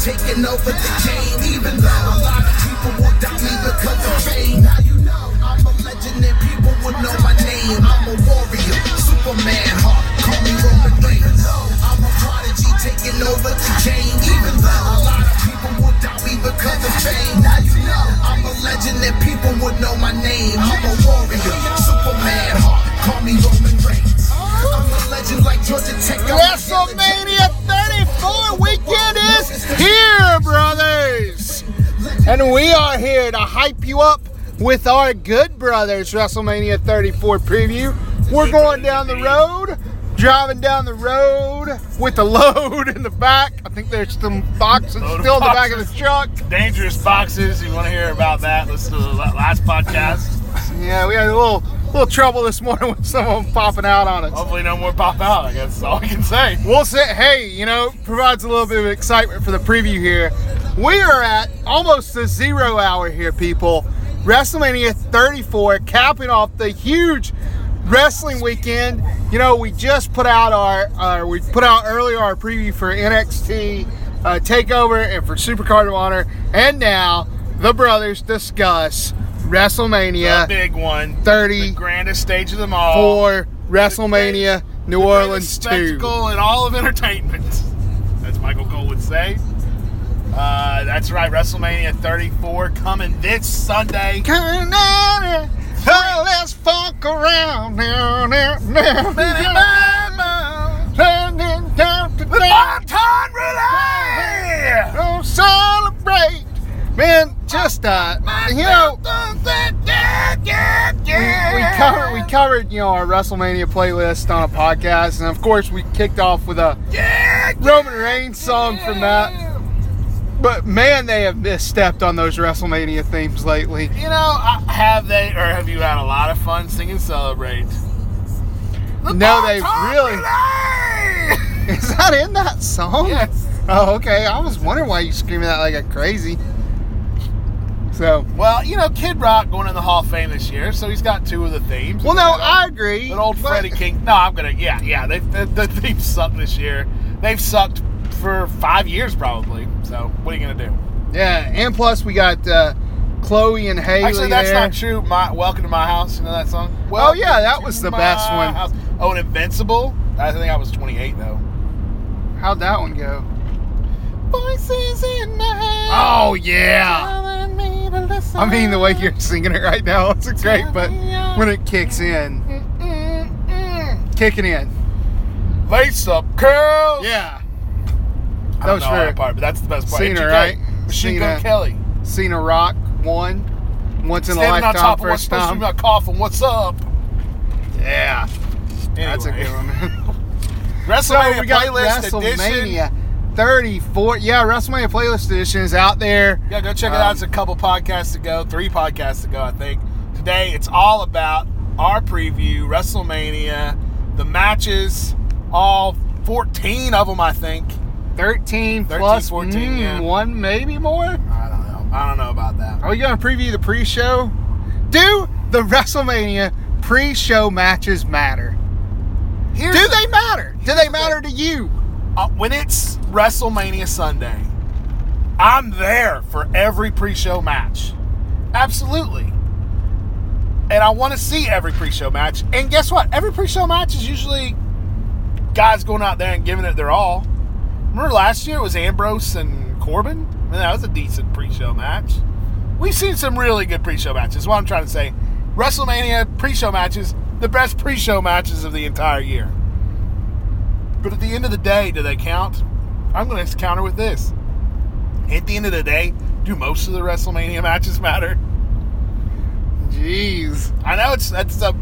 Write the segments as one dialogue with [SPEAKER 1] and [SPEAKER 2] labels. [SPEAKER 1] taking over the game. Even though a lot of people will doubt me because of fame. Now you know I'm a legend and people would know my name. I'm a warrior, Superman heart. Call me Roman Reigns. I'm a prodigy taking over the game. Even though a lot of people would doubt me because of fame. Now you know I'm a legend and people would know my name. I'm a warrior, Superman heart. Call me Roman Reigns. I'm a legend like Georgia Tech. I'm a
[SPEAKER 2] WrestleMania 34 weekend is here, brothers! And we are here to hype you up with our Good Brothers WrestleMania 34 preview. We're going down the road, driving down the road with the load in the back. I think there's some boxes
[SPEAKER 3] Load of
[SPEAKER 2] still in the back of
[SPEAKER 3] boxes.
[SPEAKER 2] the truck.
[SPEAKER 3] Dangerous boxes. You want to hear about that? Listen to the la- last podcast.
[SPEAKER 2] Yeah, we had a little little trouble this morning with someone popping out on us.
[SPEAKER 3] Hopefully, no more pop out. I guess that's all I can say.
[SPEAKER 2] We'll say, hey, you know, provides a little bit of excitement for the preview here. We are at almost the zero hour here, people. WrestleMania 34, capping off the huge wrestling weekend. You know, we just put out our, uh, we put out earlier our preview for NXT uh, Takeover and for Supercard of Honor, and now the brothers discuss
[SPEAKER 3] The
[SPEAKER 2] WrestleMania
[SPEAKER 3] big one. The
[SPEAKER 2] 34,
[SPEAKER 3] grandest stage of them all.
[SPEAKER 2] WrestleMania New
[SPEAKER 3] The greatest
[SPEAKER 2] Orleans 2.
[SPEAKER 3] Spectacle in all of entertainment. As Michael Cole would say. Uh, that's right. WrestleMania 34 coming this Sunday.
[SPEAKER 2] Coming at it. Oh, let's fuck around now, now, now. Turning down to down.
[SPEAKER 3] Barton Relay!
[SPEAKER 2] Don't celebrate. Man, just uh, you know, we, we covered we covered you know our WrestleMania playlist on a podcast, and of course we kicked off with a Roman Reigns song from that. But man, they have misstepped on those WrestleMania themes lately.
[SPEAKER 3] You know, I- have they or have you had a lot of fun singing "Celebrate"?
[SPEAKER 2] No, they've really.
[SPEAKER 3] really.
[SPEAKER 2] Is that in that song?
[SPEAKER 3] yes.
[SPEAKER 2] Oh, okay. I was wondering why you screaming that like a crazy. So,
[SPEAKER 3] Well, you know, Kid Rock going in the Hall of Fame this year, so he's got two of the themes.
[SPEAKER 2] well, no,
[SPEAKER 3] That old-
[SPEAKER 2] I agree.
[SPEAKER 3] That old
[SPEAKER 2] but-
[SPEAKER 3] Freddie King. No, I'm gonna. Yeah, yeah. They, the, the themes sucked this year. They've sucked for five years probably. So what are you gonna do?
[SPEAKER 2] Yeah, and plus we got uh, Chloe and Haley
[SPEAKER 3] Actually, that's
[SPEAKER 2] there.
[SPEAKER 3] not true. My Welcome to My House. You know that song?
[SPEAKER 2] Oh, yeah, that
[SPEAKER 3] to
[SPEAKER 2] was the
[SPEAKER 3] my
[SPEAKER 2] best one.
[SPEAKER 3] house. Oh, and Invincible. I think I was 28 though.
[SPEAKER 2] How'd that one go?
[SPEAKER 3] Voices in my head.
[SPEAKER 2] Oh yeah.
[SPEAKER 3] telling me to listen.
[SPEAKER 2] I mean, the way you're singing it right now, it's great. But when it kicks in,
[SPEAKER 3] Mm-mm-mm.
[SPEAKER 2] kicking in,
[SPEAKER 3] lace up curls.
[SPEAKER 2] yeah.
[SPEAKER 3] I
[SPEAKER 2] that
[SPEAKER 3] don't
[SPEAKER 2] was
[SPEAKER 3] know all
[SPEAKER 2] for
[SPEAKER 3] part, but that's the best part.
[SPEAKER 2] Cena,
[SPEAKER 3] MGK,
[SPEAKER 2] right?
[SPEAKER 3] Machine
[SPEAKER 2] Cena.
[SPEAKER 3] Gun Kelly.
[SPEAKER 2] Cena Rock one, once in a
[SPEAKER 3] Standing on
[SPEAKER 2] lifetime,
[SPEAKER 3] top of what's
[SPEAKER 2] first
[SPEAKER 3] supposed to be
[SPEAKER 2] time.
[SPEAKER 3] my coffin. What's up?
[SPEAKER 2] Yeah,
[SPEAKER 3] Anyway,
[SPEAKER 2] that's a good one.
[SPEAKER 3] WrestleMania
[SPEAKER 2] So we got
[SPEAKER 3] playlist edition.
[SPEAKER 2] WrestleMania 34. Yeah, WrestleMania playlist edition is out there.
[SPEAKER 3] Yeah, go check it
[SPEAKER 2] Um,
[SPEAKER 3] out. It's a couple podcasts ago, three podcasts ago, I think. Today, it's all about our preview, WrestleMania, the matches, all 14 of them, I think.
[SPEAKER 2] 13,
[SPEAKER 3] 13,
[SPEAKER 2] plus
[SPEAKER 3] 14,
[SPEAKER 2] mm,
[SPEAKER 3] yeah.
[SPEAKER 2] one, maybe more.
[SPEAKER 3] I don't know. I don't know about that.
[SPEAKER 2] Are we going to preview the pre show? Do the WrestleMania pre show matches matter?
[SPEAKER 3] Here's
[SPEAKER 2] Do
[SPEAKER 3] the-
[SPEAKER 2] they matter? Do they matter to you?
[SPEAKER 3] uh, when it's WrestleMania Sunday, I'm there for every pre-show match. Absolutely. And I want to see every pre-show match. And guess what? Every pre-show match is usually guys going out there and giving it their all. Remember last year it was Ambrose and Corbin? Man, that was a decent pre-show match. We've seen some really good pre-show matches. Is what I'm trying to say. WrestleMania pre-show matches, the best pre-show matches of the entire year. But at the end of the day, do they count? I'm going to counter with this. At the end of the day, do most of the WrestleMania matches matter?
[SPEAKER 2] Jeez.
[SPEAKER 3] I know it's that's uh,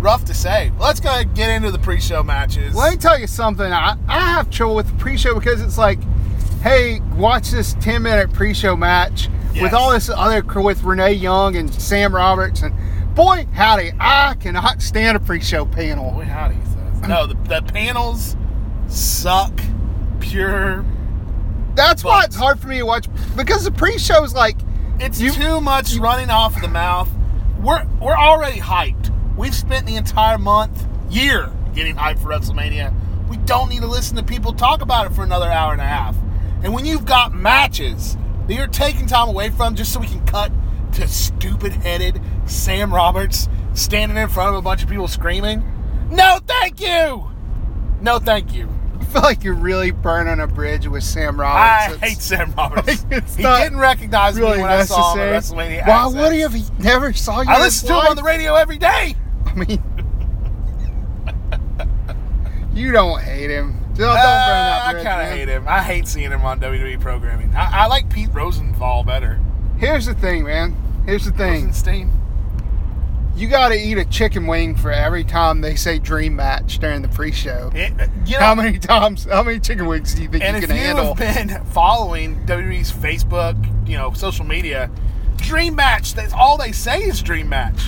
[SPEAKER 3] rough to say. Let's go ahead and get into the pre-show matches.
[SPEAKER 2] Let me tell you something. I, I have trouble with the pre show because it's like, hey, watch this 10 minute pre show match with
[SPEAKER 3] Yes.
[SPEAKER 2] all this other, cr- with Renee Young and Sam Roberts. And boy, howdy, I cannot stand a pre show panel.
[SPEAKER 3] Boy, howdy, he says. No, the, the panels suck. Pure.
[SPEAKER 2] That's why
[SPEAKER 3] But-
[SPEAKER 2] it's hard for me to watch because the pre show is like,
[SPEAKER 3] It's
[SPEAKER 2] You-
[SPEAKER 3] too much running off of the mouth. We're we're already hyped. We've spent the entire month, year, getting hyped for WrestleMania. We don't need to listen to people talk about it for another hour and a half. And when you've got matches that you're taking time away from just so we can cut to stupid headed Sam Roberts standing in front of a bunch of people screaming, no, thank you. No, thank you.
[SPEAKER 2] I feel like you're really burning a bridge with Sam
[SPEAKER 3] I
[SPEAKER 2] Roberts. It's
[SPEAKER 3] hate Sam Roberts.
[SPEAKER 2] it's
[SPEAKER 3] he
[SPEAKER 2] not
[SPEAKER 3] didn't recognize
[SPEAKER 2] really
[SPEAKER 3] me when
[SPEAKER 2] necessary.
[SPEAKER 3] I saw him at WrestleMania.
[SPEAKER 2] Why would
[SPEAKER 3] Access.
[SPEAKER 2] he have? He never saw you.
[SPEAKER 3] I
[SPEAKER 2] in his
[SPEAKER 3] listen to him on
[SPEAKER 2] life.
[SPEAKER 3] the radio every day.
[SPEAKER 2] I mean, you don't hate him. Don't, Oh, don't burn
[SPEAKER 3] Uh,
[SPEAKER 2] that
[SPEAKER 3] I
[SPEAKER 2] bridge.
[SPEAKER 3] kind of
[SPEAKER 2] man.
[SPEAKER 3] hate him. I hate seeing him on WWE programming. I, I like Pete Rosenthal better.
[SPEAKER 2] Here's the thing, man. Here's the thing.
[SPEAKER 3] Rosenstein.
[SPEAKER 2] You got to eat a chicken wing for every time they say dream match during the pre-show.
[SPEAKER 3] It, uh, you know,
[SPEAKER 2] How many times? How many chicken wings do you think
[SPEAKER 3] and
[SPEAKER 2] you
[SPEAKER 3] if
[SPEAKER 2] can
[SPEAKER 3] you
[SPEAKER 2] handle?
[SPEAKER 3] have been following WWE's Facebook, you know, social media, dream match. That's all they say is dream match.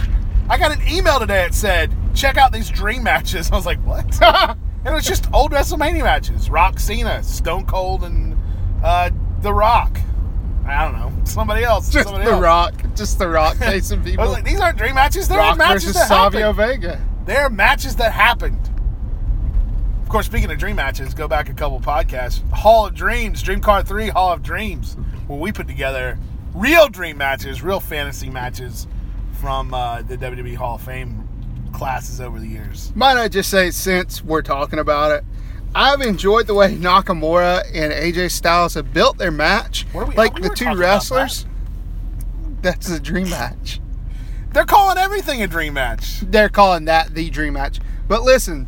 [SPEAKER 3] I got an email today that said, "Check out these dream matches." I was like, "What?" and it's just old WrestleMania matches: Rock, Cena, Stone Cold, and uh, The Rock. I don't know somebody else.
[SPEAKER 2] just
[SPEAKER 3] somebody
[SPEAKER 2] the
[SPEAKER 3] else.
[SPEAKER 2] Rock. Just the Rock facing
[SPEAKER 3] I
[SPEAKER 2] people.
[SPEAKER 3] was like, these aren't dream matches. They're
[SPEAKER 2] rock
[SPEAKER 3] matches
[SPEAKER 2] versus
[SPEAKER 3] that
[SPEAKER 2] Savio
[SPEAKER 3] happened.
[SPEAKER 2] Vega.
[SPEAKER 3] They're matches that happened. Of course, speaking of dream matches, go back a couple podcasts. Hall of Dreams, Dream Car 3, Hall of Dreams, where we put together real dream matches, real fantasy matches from uh, the WWE Hall of Fame classes over the years.
[SPEAKER 2] Might I just say, since we're talking about it, I've enjoyed the way Nakamura and AJ Styles have built their match.
[SPEAKER 3] What are we-
[SPEAKER 2] like
[SPEAKER 3] we
[SPEAKER 2] the
[SPEAKER 3] were
[SPEAKER 2] two
[SPEAKER 3] talking about
[SPEAKER 2] wrestlers, that's a dream match.
[SPEAKER 3] that. They're calling everything a dream match.
[SPEAKER 2] They're calling that the dream match. But listen,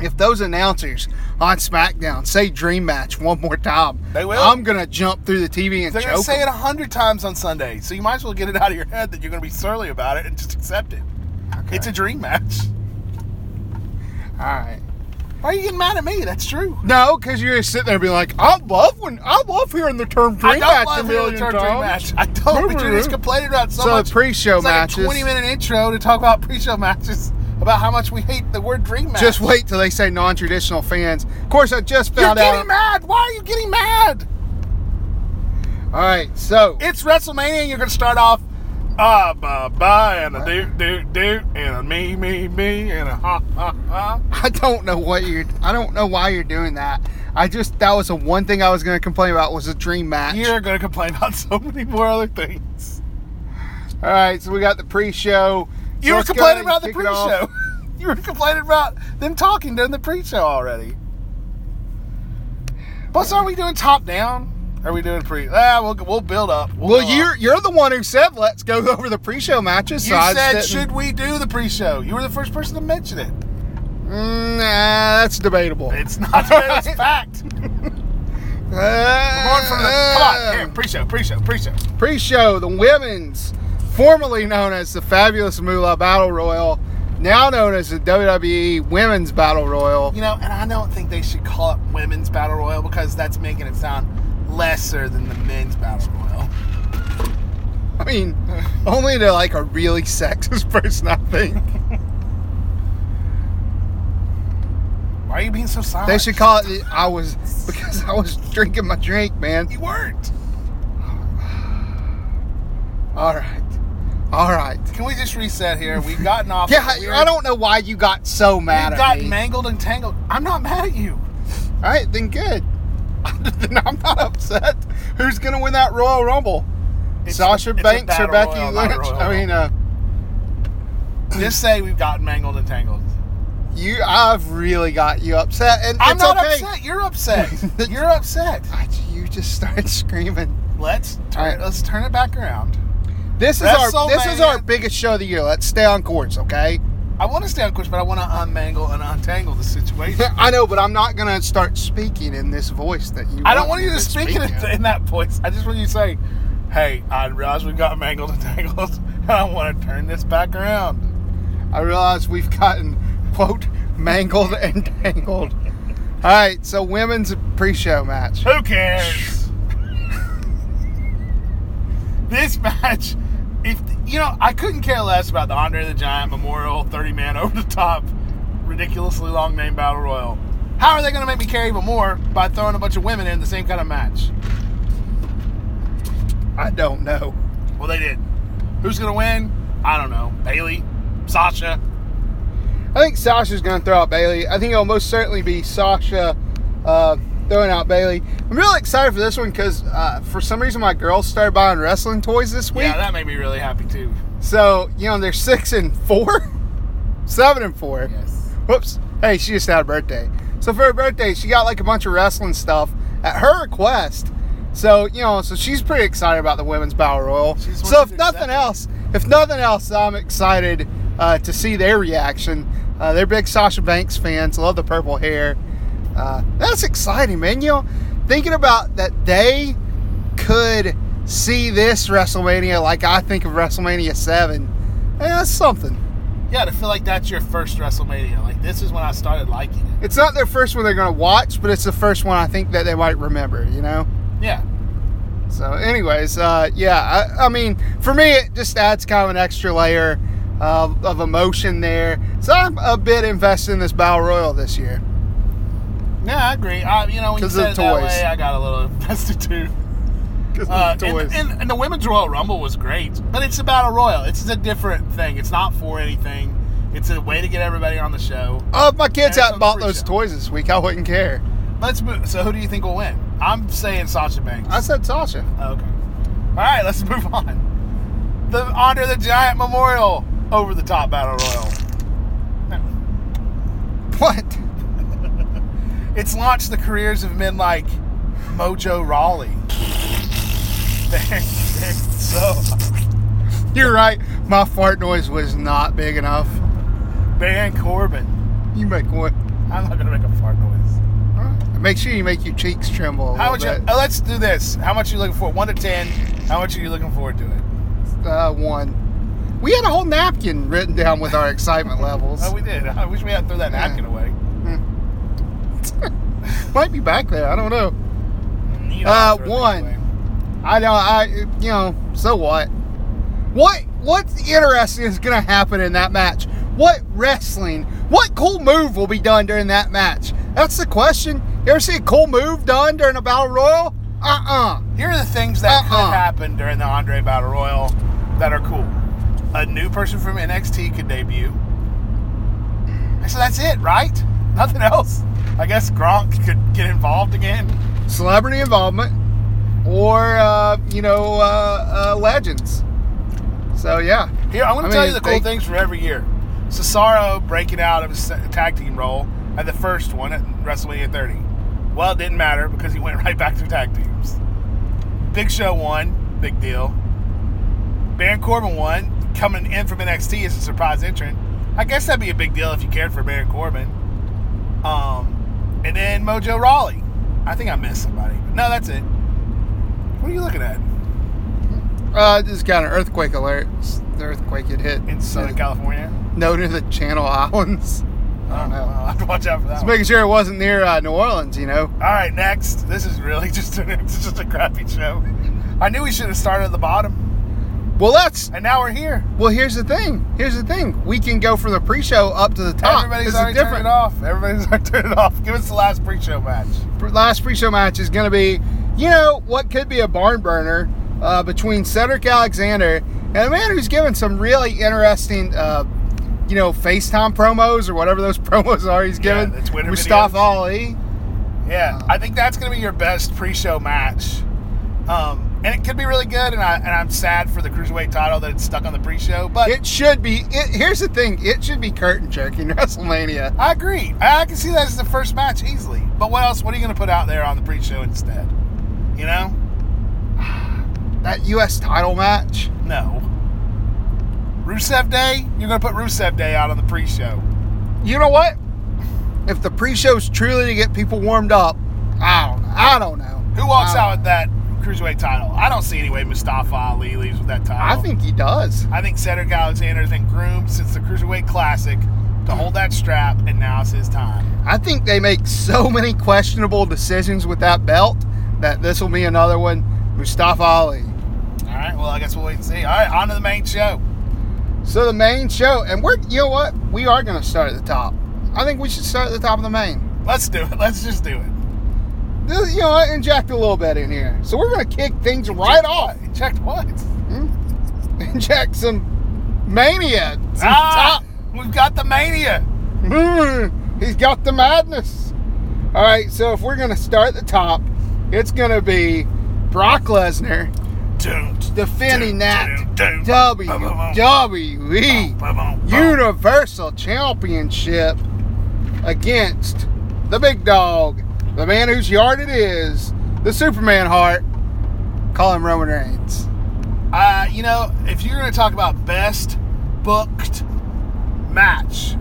[SPEAKER 2] if those announcers on SmackDown say dream match one more time,
[SPEAKER 3] They will.
[SPEAKER 2] I'm gonna jump through the TV and
[SPEAKER 3] They're going to
[SPEAKER 2] choke.
[SPEAKER 3] say
[SPEAKER 2] 'em.
[SPEAKER 3] it a hundred times on Sunday, so you might as well get it out of your head that you're going to be surly about it and just accept it. It's a dream match.
[SPEAKER 2] All right.
[SPEAKER 3] Why are you getting mad at me? That's true.
[SPEAKER 2] No, because you're sitting there being like, I love when I love hearing the term dream
[SPEAKER 3] I don't
[SPEAKER 2] match a
[SPEAKER 3] love
[SPEAKER 2] million
[SPEAKER 3] Dream
[SPEAKER 2] times.
[SPEAKER 3] match. I don't. But you're just complaining about so,
[SPEAKER 2] So the
[SPEAKER 3] much.
[SPEAKER 2] pre-show
[SPEAKER 3] it's like
[SPEAKER 2] matches-
[SPEAKER 3] A 20 minute intro to talk about pre-show matches about how much we hate the word dream match.
[SPEAKER 2] Just wait till they say non-traditional fans. Of course, I just
[SPEAKER 3] You're
[SPEAKER 2] found
[SPEAKER 3] getting
[SPEAKER 2] out.
[SPEAKER 3] mad. Why are you getting mad?
[SPEAKER 2] All right, so
[SPEAKER 3] It's WrestleMania. and You're gonna start off. Ah, bye, bye, and a do, do, do, and a me, me, me, and a ha, ha, ha.
[SPEAKER 2] I don't know what you're. I don't know why you're doing that. I just that was the one thing I was going to complain about was a dream match.
[SPEAKER 3] You're gonna complain about so many more other things.
[SPEAKER 2] All right, so we got the pre-show.
[SPEAKER 3] You were
[SPEAKER 2] Let's go
[SPEAKER 3] complaining
[SPEAKER 2] ahead
[SPEAKER 3] about the
[SPEAKER 2] and kick it off.
[SPEAKER 3] pre-show. You were complaining about them talking during the pre-show already. Plus, are we doing top down? Are we doing pre? Ah, we'll we'll build up.
[SPEAKER 2] Well,
[SPEAKER 3] go up.
[SPEAKER 2] you're you're the one who said let's go over the pre-show matches. so I
[SPEAKER 3] you
[SPEAKER 2] just
[SPEAKER 3] said
[SPEAKER 2] didn't-
[SPEAKER 3] should we do the pre-show? You were the first person to mention it.
[SPEAKER 2] Mm, nah, that's debatable.
[SPEAKER 3] It's not it's fact. Come on, from the, come
[SPEAKER 2] Uh,
[SPEAKER 3] on, here, pre-show, pre-show, pre-show.
[SPEAKER 2] pre-show, the women's, formerly known as the Fabulous Moolah Battle Royal, now known as the WWE Women's Battle Royal.
[SPEAKER 3] You know, and I don't think they should call it women's battle royal because that's making it sound lesser than the men's battle royal.
[SPEAKER 2] I mean, only to like a really sexist person, I think.
[SPEAKER 3] Why are you being so silent?
[SPEAKER 2] They should call it. the- I was because I was drinking my drink, man.
[SPEAKER 3] You weren't.
[SPEAKER 2] All right, all right.
[SPEAKER 3] Can we just reset here? We've gotten off.
[SPEAKER 2] Yeah,
[SPEAKER 3] we're-
[SPEAKER 2] I don't know why you got so mad
[SPEAKER 3] We've
[SPEAKER 2] at
[SPEAKER 3] gotten
[SPEAKER 2] me.
[SPEAKER 3] mangled and tangled. I'm not mad at you.
[SPEAKER 2] All right, then good. then I'm not upset. Who's gonna win that Royal Rumble?
[SPEAKER 3] It's-
[SPEAKER 2] Sasha
[SPEAKER 3] it's a
[SPEAKER 2] Banks or
[SPEAKER 3] battle
[SPEAKER 2] Becky
[SPEAKER 3] royal, not a
[SPEAKER 2] Lynch?
[SPEAKER 3] Royal
[SPEAKER 2] I mean, uh,
[SPEAKER 3] Just say we've gotten mangled and tangled.
[SPEAKER 2] you. I've really got you upset, and
[SPEAKER 3] I'm
[SPEAKER 2] it's
[SPEAKER 3] not
[SPEAKER 2] okay.
[SPEAKER 3] upset. You're upset. You're upset.
[SPEAKER 2] I- you just started screaming.
[SPEAKER 3] Let's turn.
[SPEAKER 2] All right.
[SPEAKER 3] Let's turn it back around.
[SPEAKER 2] This is our this is our
[SPEAKER 3] WrestleMania.
[SPEAKER 2] biggest show of the year. Let's stay on course, okay?
[SPEAKER 3] I want to stay on course, but I want to unmangle and untangle the situation.
[SPEAKER 2] I know, but I'm not gonna start speaking in this voice that you.
[SPEAKER 3] I don't want you to speak in,
[SPEAKER 2] in.
[SPEAKER 3] in that voice. I just want you to say, "Hey, I realize we got mangled and tangled, and I want to turn this back around."
[SPEAKER 2] I realize we've gotten quote mangled and tangled. All right, so women's pre-show match.
[SPEAKER 3] Who cares? this match, if you know, I couldn't care less about the Andre the Giant Memorial 30 man over the top, ridiculously long name battle royal. How are they going to make me care even more by throwing a bunch of women in the same kind of match?
[SPEAKER 2] I don't know.
[SPEAKER 3] Well, they did. Who's going to win? I don't know. Bailey, Sasha.
[SPEAKER 2] I think Sasha's going to throw out Bailey. I think it'll most certainly be Sasha, uh, throwing out Bailey. I'm really excited for this one because uh, for some reason my girls started buying wrestling toys this week.
[SPEAKER 3] Yeah, that made me really happy too.
[SPEAKER 2] so you know they're six and four, seven and four. Whoops. Hey, she just had a birthday. So for her birthday, she got like a bunch of wrestling stuff at her request. So, you know, so she's pretty excited about the women's battle royal.
[SPEAKER 3] She just wants
[SPEAKER 2] So if
[SPEAKER 3] to
[SPEAKER 2] nothing
[SPEAKER 3] accept it.
[SPEAKER 2] else, if nothing else, I'm excited uh, to see their reaction. Uh, they're big Sasha Banks fans, love the purple hair. Uh, that's exciting, man. You know, thinking about that they could see this WrestleMania like I think of WrestleMania 7, eh, that's something.
[SPEAKER 3] Yeah, to feel like that's your first WrestleMania. Like this is when I started liking it.
[SPEAKER 2] It's not their first one they're going to watch, but it's the first one I think that they might remember, you know?
[SPEAKER 3] Yeah.
[SPEAKER 2] So, anyways, uh, yeah, I, I mean, for me, it just adds kind of an extra layer of, of emotion there. So, I'm a bit invested in this Battle Royal this year.
[SPEAKER 3] Yeah, I agree. I, you know, when you
[SPEAKER 2] 'Cause of
[SPEAKER 3] said it
[SPEAKER 2] the
[SPEAKER 3] that
[SPEAKER 2] toys.
[SPEAKER 3] way, I got a little invested too.
[SPEAKER 2] 'Cause
[SPEAKER 3] Uh,
[SPEAKER 2] of the
[SPEAKER 3] and,
[SPEAKER 2] toys.
[SPEAKER 3] and, and the Women's Royal Rumble was great, but it's a battle royal. It's a different thing. It's not for anything. It's a way to get everybody on the show.
[SPEAKER 2] oh, if my kids
[SPEAKER 3] and
[SPEAKER 2] hadn't
[SPEAKER 3] it's
[SPEAKER 2] bought
[SPEAKER 3] on
[SPEAKER 2] those
[SPEAKER 3] pre-show.
[SPEAKER 2] toys this week, I wouldn't care.
[SPEAKER 3] Let's move. So, who do you think will win? I'm saying Sasha Banks.
[SPEAKER 2] I said Sasha.
[SPEAKER 3] Okay. All right, let's move on. The Honor the Giant Memorial over the top battle royal.
[SPEAKER 2] What?
[SPEAKER 3] It's launched the careers of men like Mojo Rawley. They're- they're so
[SPEAKER 2] You're right. My fart noise was not big enough.
[SPEAKER 3] Baron Corbin.
[SPEAKER 2] You make one.
[SPEAKER 3] I'm not gonna make a fart noise.
[SPEAKER 2] Make sure you make your cheeks tremble. A
[SPEAKER 3] How much?
[SPEAKER 2] little bit.
[SPEAKER 3] uh, let's do this. How much are you looking for? One to ten. How much are you looking forward to it?
[SPEAKER 2] uh, one. We had a whole napkin written down with our excitement levels.
[SPEAKER 3] Oh, we did. I wish we hadn't thrown that
[SPEAKER 2] Yeah.
[SPEAKER 3] napkin away.
[SPEAKER 2] Might be back there. I don't know.
[SPEAKER 3] You
[SPEAKER 2] Uh,
[SPEAKER 3] I throw things
[SPEAKER 2] one.
[SPEAKER 3] away.
[SPEAKER 2] I know. I you know. So what? What what's interesting is going to happen in that match? What wrestling? What cool move will be done during that match? That's the question. You ever see a cool move done during a battle royal? Uh uh
[SPEAKER 3] Here are the things that
[SPEAKER 2] Uh-uh.
[SPEAKER 3] could happen during the Andre Battle Royal that are cool. A new person from NXT could debut. And so that's it, right? Nothing else. I guess Gronk could get involved again.
[SPEAKER 2] Celebrity involvement, or uh, you know, uh, uh, legends. So yeah.
[SPEAKER 3] Here, I'm going
[SPEAKER 2] I
[SPEAKER 3] to tell
[SPEAKER 2] mean,
[SPEAKER 3] you the
[SPEAKER 2] they-
[SPEAKER 3] cool things from every year. Cesaro breaking out of his tag team role at the first one at WrestleMania 30. Well, it didn't matter because he went right back to tag teams. Big Show won, big deal. Baron Corbin won, coming in from NXT as a surprise entrant. I guess that'd be a big deal if you cared for Baron Corbin. Um, and then Mojo Rawley. I think I missed somebody. No, that's it. What are you looking at?
[SPEAKER 2] Uh, this is kind of earthquake alert. It's The earthquake it hit
[SPEAKER 3] In Southern California?
[SPEAKER 2] No, near the Channel Islands. I don't know.
[SPEAKER 3] I have to watch out for that.
[SPEAKER 2] Just
[SPEAKER 3] one.
[SPEAKER 2] making sure it wasn't near uh, New Orleans, you know.
[SPEAKER 3] All right, next. This is really just a, it's just a crappy show. I knew we should have started at the bottom,
[SPEAKER 2] Well, that's
[SPEAKER 3] and now we're here.
[SPEAKER 2] well. Here's the thing. Here's the thing. We can go from the pre-show up to the top.
[SPEAKER 3] Everybody's
[SPEAKER 2] Ah, This is
[SPEAKER 3] already turned it
[SPEAKER 2] different.
[SPEAKER 3] off. Everybody's already turned it off. Give us the last pre-show match.
[SPEAKER 2] Last pre-show match is going to be, you know, what could be a barn burner uh, between Cedric Alexander and a man who's given some really interesting, uh, you know, FaceTime promos or whatever those promos are. He's
[SPEAKER 3] Yeah,
[SPEAKER 2] given
[SPEAKER 3] the Twitter
[SPEAKER 2] Mustafa
[SPEAKER 3] videos.
[SPEAKER 2] Ali.
[SPEAKER 3] Yeah,
[SPEAKER 2] Ah.
[SPEAKER 3] I think that's going to be your best pre-show match, um, and it could be really good. And I and I'm sad for the cruiserweight title that it's stuck on the pre-show, but
[SPEAKER 2] It should be. It, here's the thing. It should be curtain jerking WrestleMania.
[SPEAKER 3] I agree. I, I can see that as the first match easily. But what else? What are you going to put out there on the pre-show instead? You know?
[SPEAKER 2] That U.S. title match.
[SPEAKER 3] No. Rusev Day? You're going to put Rusev Day out on the pre-show.
[SPEAKER 2] you know what? If the pre-show's truly to get people warmed up, I don't, I don't know.
[SPEAKER 3] Who walks
[SPEAKER 2] I,
[SPEAKER 3] out with that cruiserweight title? I don't see any way Mustafa Ali leaves with that title.
[SPEAKER 2] I think he does.
[SPEAKER 3] I think Cedric Alexander's been groomed since the cruiserweight classic to hold that strap, and now it's his time.
[SPEAKER 2] I think they make so many questionable decisions with that belt that this will be another one. Mustafa Ali.
[SPEAKER 3] All right. Well, I guess we'll wait and see. All right, on to the main show.
[SPEAKER 2] So the main show, and we're you know what? We are going to start at the top. I think we should start at the top of the main.
[SPEAKER 3] Let's do it. Let's just do it.
[SPEAKER 2] This- you know, what? inject a little bit in here. So we're going to kick things right off.
[SPEAKER 3] What? Checked what?
[SPEAKER 2] Inject Hmm? some mania. Some
[SPEAKER 3] Ah,
[SPEAKER 2] top.
[SPEAKER 3] we've got the mania.
[SPEAKER 2] Mm, he's got the madness. All right, so if we're going to start at the top, it's going to be Brock Lesnar
[SPEAKER 3] Don't.
[SPEAKER 2] defending that
[SPEAKER 3] Dun, dun, dun.
[SPEAKER 2] WWE Universal Championship against the big dog, the man whose yard it is, the Superman heart. Call him Roman Reigns.
[SPEAKER 3] Uh, you know, if you're going to talk about best booked match,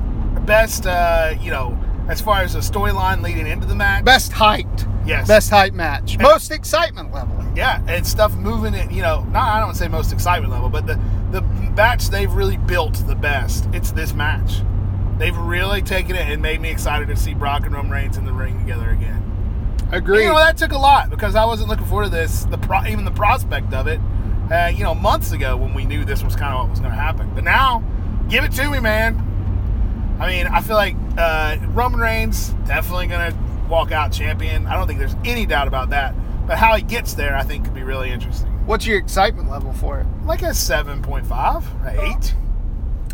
[SPEAKER 3] best, uh, you know, as far as the storyline leading into the match,
[SPEAKER 2] Best hyped.
[SPEAKER 3] Yes.
[SPEAKER 2] Best hype match. Most excitement level.
[SPEAKER 3] yeah, and stuff moving it, you know, not I don't say most excitement level, but the the match they've really built the best. It's this match. They've really taken it and made me excited to see Brock and Roman Reigns in the ring together again.
[SPEAKER 2] Agreed.
[SPEAKER 3] You know that took a lot because I wasn't looking forward to this. The pro- even the prospect of it, uh, you know, months ago when we knew this was kind of what was going to happen. But now, give it to me, man. I mean, I feel like uh, Roman Reigns definitely going to walk out champion. I don't think there's any doubt about that. But how he gets there, I think, could be really interesting.
[SPEAKER 2] What's your excitement level for it?
[SPEAKER 3] Like a seven point five, eight.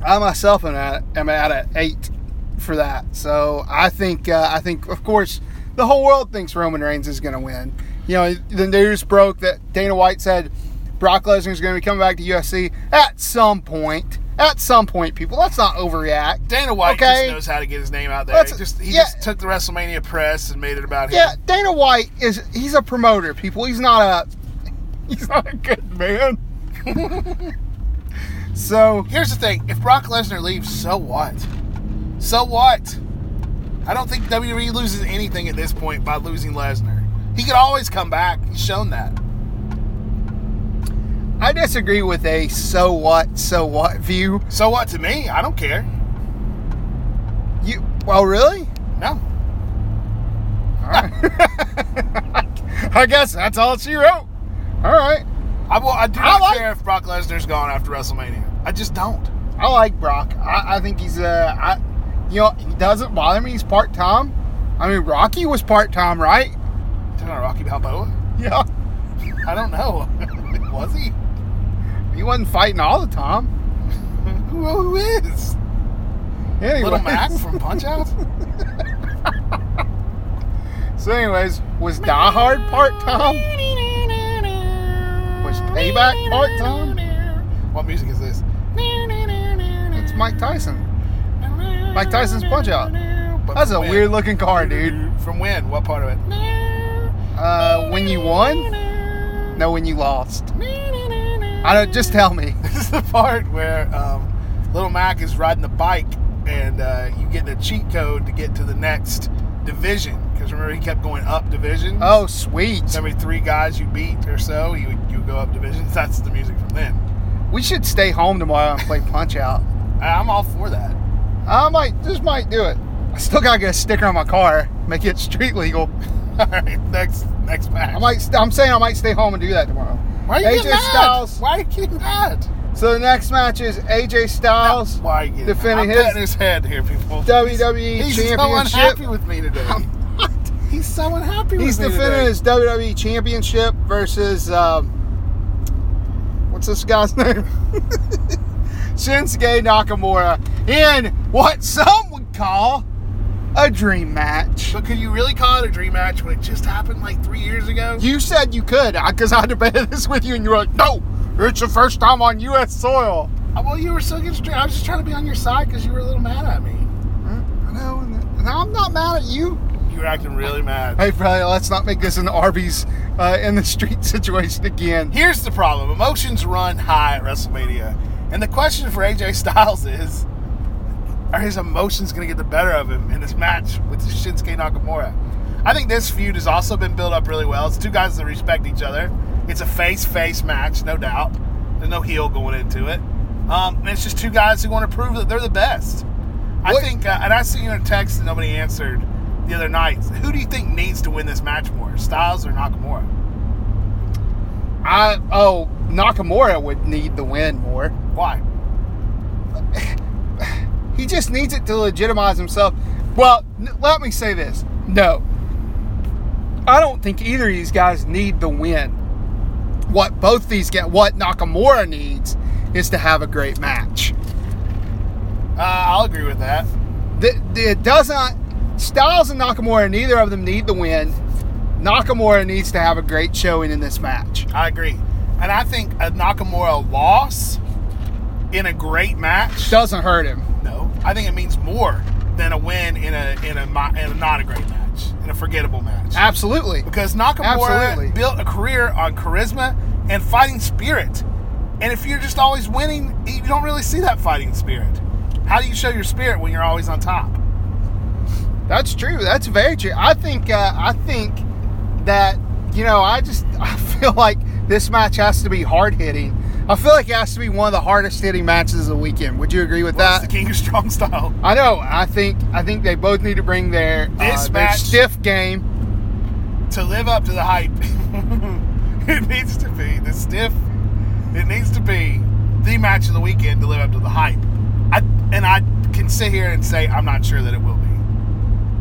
[SPEAKER 2] I myself am at am at an eight for that. So I think uh, I think of course the whole world thinks Roman Reigns is going to win. You know the news broke that Dana White said Brock Lesnar is going to be coming back to UFC at some point. At some point, people, let's not overreact.
[SPEAKER 3] Dana White
[SPEAKER 2] Okay.
[SPEAKER 3] just knows how to get his name out there.
[SPEAKER 2] That's-
[SPEAKER 3] He just he
[SPEAKER 2] yeah.
[SPEAKER 3] just took the WrestleMania press and made it about
[SPEAKER 2] Yeah,
[SPEAKER 3] him.
[SPEAKER 2] Dana White is he's a promoter, people. He's not a he's not a good man. so
[SPEAKER 3] Here's the thing: if Brock Lesnar leaves, so what? So what? I don't think WWE loses anything at this point by losing Lesnar. He could always come back. He's shown that.
[SPEAKER 2] I disagree with a so what, so what view.
[SPEAKER 3] So what to me? I don't care.
[SPEAKER 2] You well really?
[SPEAKER 3] No.
[SPEAKER 2] I guess that's all she wrote. All right.
[SPEAKER 3] I will. I do
[SPEAKER 2] I
[SPEAKER 3] not
[SPEAKER 2] like-
[SPEAKER 3] care if Brock Lesnar's gone after WrestleMania. I just don't.
[SPEAKER 2] I like Brock. I, I think he's uh, I, you know, he doesn't bother me. He's part time. I mean, Rocky was part time, right?
[SPEAKER 3] Did I Rocky Balboa?
[SPEAKER 2] Yeah.
[SPEAKER 3] I don't know. Was he?
[SPEAKER 2] He wasn't fighting all the time.
[SPEAKER 3] Who, who is?
[SPEAKER 2] Anyways.
[SPEAKER 3] Little Mac from Punch Out?
[SPEAKER 2] So, anyways, was Die Hard part time? Was Payback part time?
[SPEAKER 3] What music is this?
[SPEAKER 2] It's Mike Tyson.
[SPEAKER 3] Mike
[SPEAKER 2] Tyson's Punch Out. That's a weird looking car, dude.
[SPEAKER 3] From when? What part of it?
[SPEAKER 2] Uh, when you won? No, when you lost. I don't. Just tell me.
[SPEAKER 3] This is the part where um, Little Mac is riding the bike, and uh, you get the cheat code to get to the next division. Because remember, he kept going up division.
[SPEAKER 2] Oh, sweet.
[SPEAKER 3] Every three guys you beat or so, you you go up divisions. That's the music from then.
[SPEAKER 2] We should stay home tomorrow and play Punch Out.
[SPEAKER 3] I- I'm all for that.
[SPEAKER 2] I might, just might do it. I still gotta get a sticker on my car, make it street legal.
[SPEAKER 3] All right, next next match.
[SPEAKER 2] I might, st- I'm saying I might stay home and do that tomorrow.
[SPEAKER 3] Why are you
[SPEAKER 2] AJ
[SPEAKER 3] getting mad?
[SPEAKER 2] Styles.
[SPEAKER 3] Why are you getting mad?
[SPEAKER 2] So the next match is AJ Styles,
[SPEAKER 3] Why are you getting
[SPEAKER 2] Defending
[SPEAKER 3] mad? I'm
[SPEAKER 2] his-
[SPEAKER 3] petting his head here, people.
[SPEAKER 2] WWE
[SPEAKER 3] He's so
[SPEAKER 2] Championship.
[SPEAKER 3] unhappy with me today. He's so unhappy with
[SPEAKER 2] He's
[SPEAKER 3] me
[SPEAKER 2] defending
[SPEAKER 3] today.
[SPEAKER 2] his WWE Championship versus um, what's this guy's name? Shinsuke Nakamura in what some would call a dream match.
[SPEAKER 3] But could you really call it a dream match when it just happened like three years ago?
[SPEAKER 2] You said you could, because I debated this with you, and you were like, no, it's the first time on U.S. soil.
[SPEAKER 3] Uh, well, you were still against dream. I was just trying to be on your side because you were a little mad at me.
[SPEAKER 2] I know, and I'm not mad at you.
[SPEAKER 3] You were acting really mad.
[SPEAKER 2] Hey, Bradley, let's not make this an Arby's uh, in the street situation again.
[SPEAKER 3] Here's the problem: emotions run high at WrestleMania, and the question for AJ Styles is: Are his emotions going to get the better of him in this match with Shinsuke Nakamura? I think this feud has also been built up really well. It's two guys that respect each other. It's a face-face match, no doubt. There's no heel going into it. Um, and it's just two guys who want to prove that they're the best. I
[SPEAKER 2] What-
[SPEAKER 3] think, uh, and I seen a text that nobody answered the other night. Who do you think needs to win this match more, Styles or Nakamura?
[SPEAKER 2] I oh, Nakamura would need the win more.
[SPEAKER 3] Why?
[SPEAKER 2] He just needs it to legitimize himself. Well, n- let me say this: no, I don't think either of these guys need the win. What both these get, what Nakamura needs, is to have a great match.
[SPEAKER 3] Uh, I'll agree with that.
[SPEAKER 2] Th- th- It does not. Styles and Nakamura, neither of them need the win. Nakamura needs to have a great showing in this match.
[SPEAKER 3] I agree. And I think a Nakamura loss in a great match,
[SPEAKER 2] Doesn't hurt him.
[SPEAKER 3] no, I think it means more than a win in a in a, mo- in a not a great match, in a forgettable match.
[SPEAKER 2] Absolutely.
[SPEAKER 3] because Nakamura
[SPEAKER 2] Absolutely.
[SPEAKER 3] built a career on charisma and fighting spirit. And if you're just always winning, you don't really see that fighting spirit. How do you show your spirit when you're always on top?
[SPEAKER 2] That's true. That's very true. I think uh, I think that you know I just I feel like this match has to be hard hitting. I feel like it has to be one of the hardest hitting matches of the weekend. Would you agree with
[SPEAKER 3] That's the
[SPEAKER 2] that?
[SPEAKER 3] King of Strong Style.
[SPEAKER 2] I know. I think I think they both need to bring their uh,
[SPEAKER 3] This
[SPEAKER 2] their
[SPEAKER 3] match-
[SPEAKER 2] stiff game.
[SPEAKER 3] To live up to the hype, it needs to be the stiff. It needs to be the match of the weekend to live up to the hype. I, and I can sit here and say I'm not sure that it will be.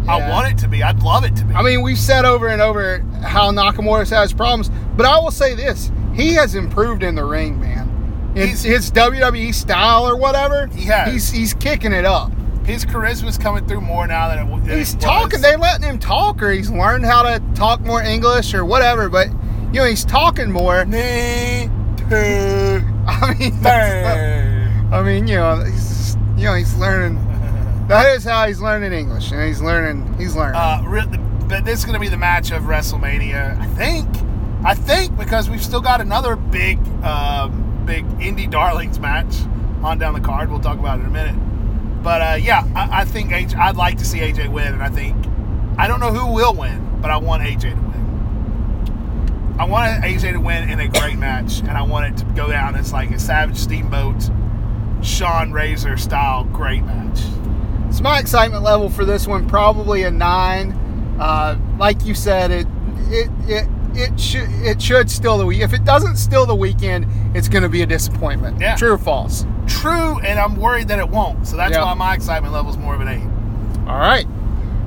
[SPEAKER 3] I
[SPEAKER 2] Yeah.
[SPEAKER 3] want it to be. I'd love it to be.
[SPEAKER 2] I mean, we've said over and over how Nakamura has problems, but I will say this: he has improved in the ring, man. In
[SPEAKER 3] He's-
[SPEAKER 2] his WWE style or whatever,
[SPEAKER 3] He has.
[SPEAKER 2] He's he's kicking it up.
[SPEAKER 3] his charisma's coming through more now than it w- than it
[SPEAKER 2] he's
[SPEAKER 3] was.
[SPEAKER 2] talking. They're letting him talk, or he's learned how to talk more English, or whatever. But you know, he's talking more.
[SPEAKER 3] Knee to
[SPEAKER 2] I mean, that's-
[SPEAKER 3] bang.
[SPEAKER 2] I mean, you know, he's, you know, he's learning. That is how he's learning English, and he's learning. He's learning.
[SPEAKER 3] Uh, re- but this is going to be the match of WrestleMania, I think. I think because we've still got another big, um, big indie darlings match on down the card. We'll talk about it in a minute. But uh, yeah, I, I think AJ, I'd like to see AJ win, and I think I don't know who will win, but I want AJ to win. I want AJ to win in a great match, and I want it to go down as like a Savage Steamboat, Sean Razor style great match.
[SPEAKER 2] so my excitement level for this one probably a nine. Uh, like you said, it it it it should it should steal the week. If it doesn't steal the weekend, it's going to be a disappointment.
[SPEAKER 3] Yeah.
[SPEAKER 2] True or false?
[SPEAKER 3] true, and I'm worried that it won't. So that's
[SPEAKER 2] Yeah.
[SPEAKER 3] why my excitement level is more of an eight.
[SPEAKER 2] All right.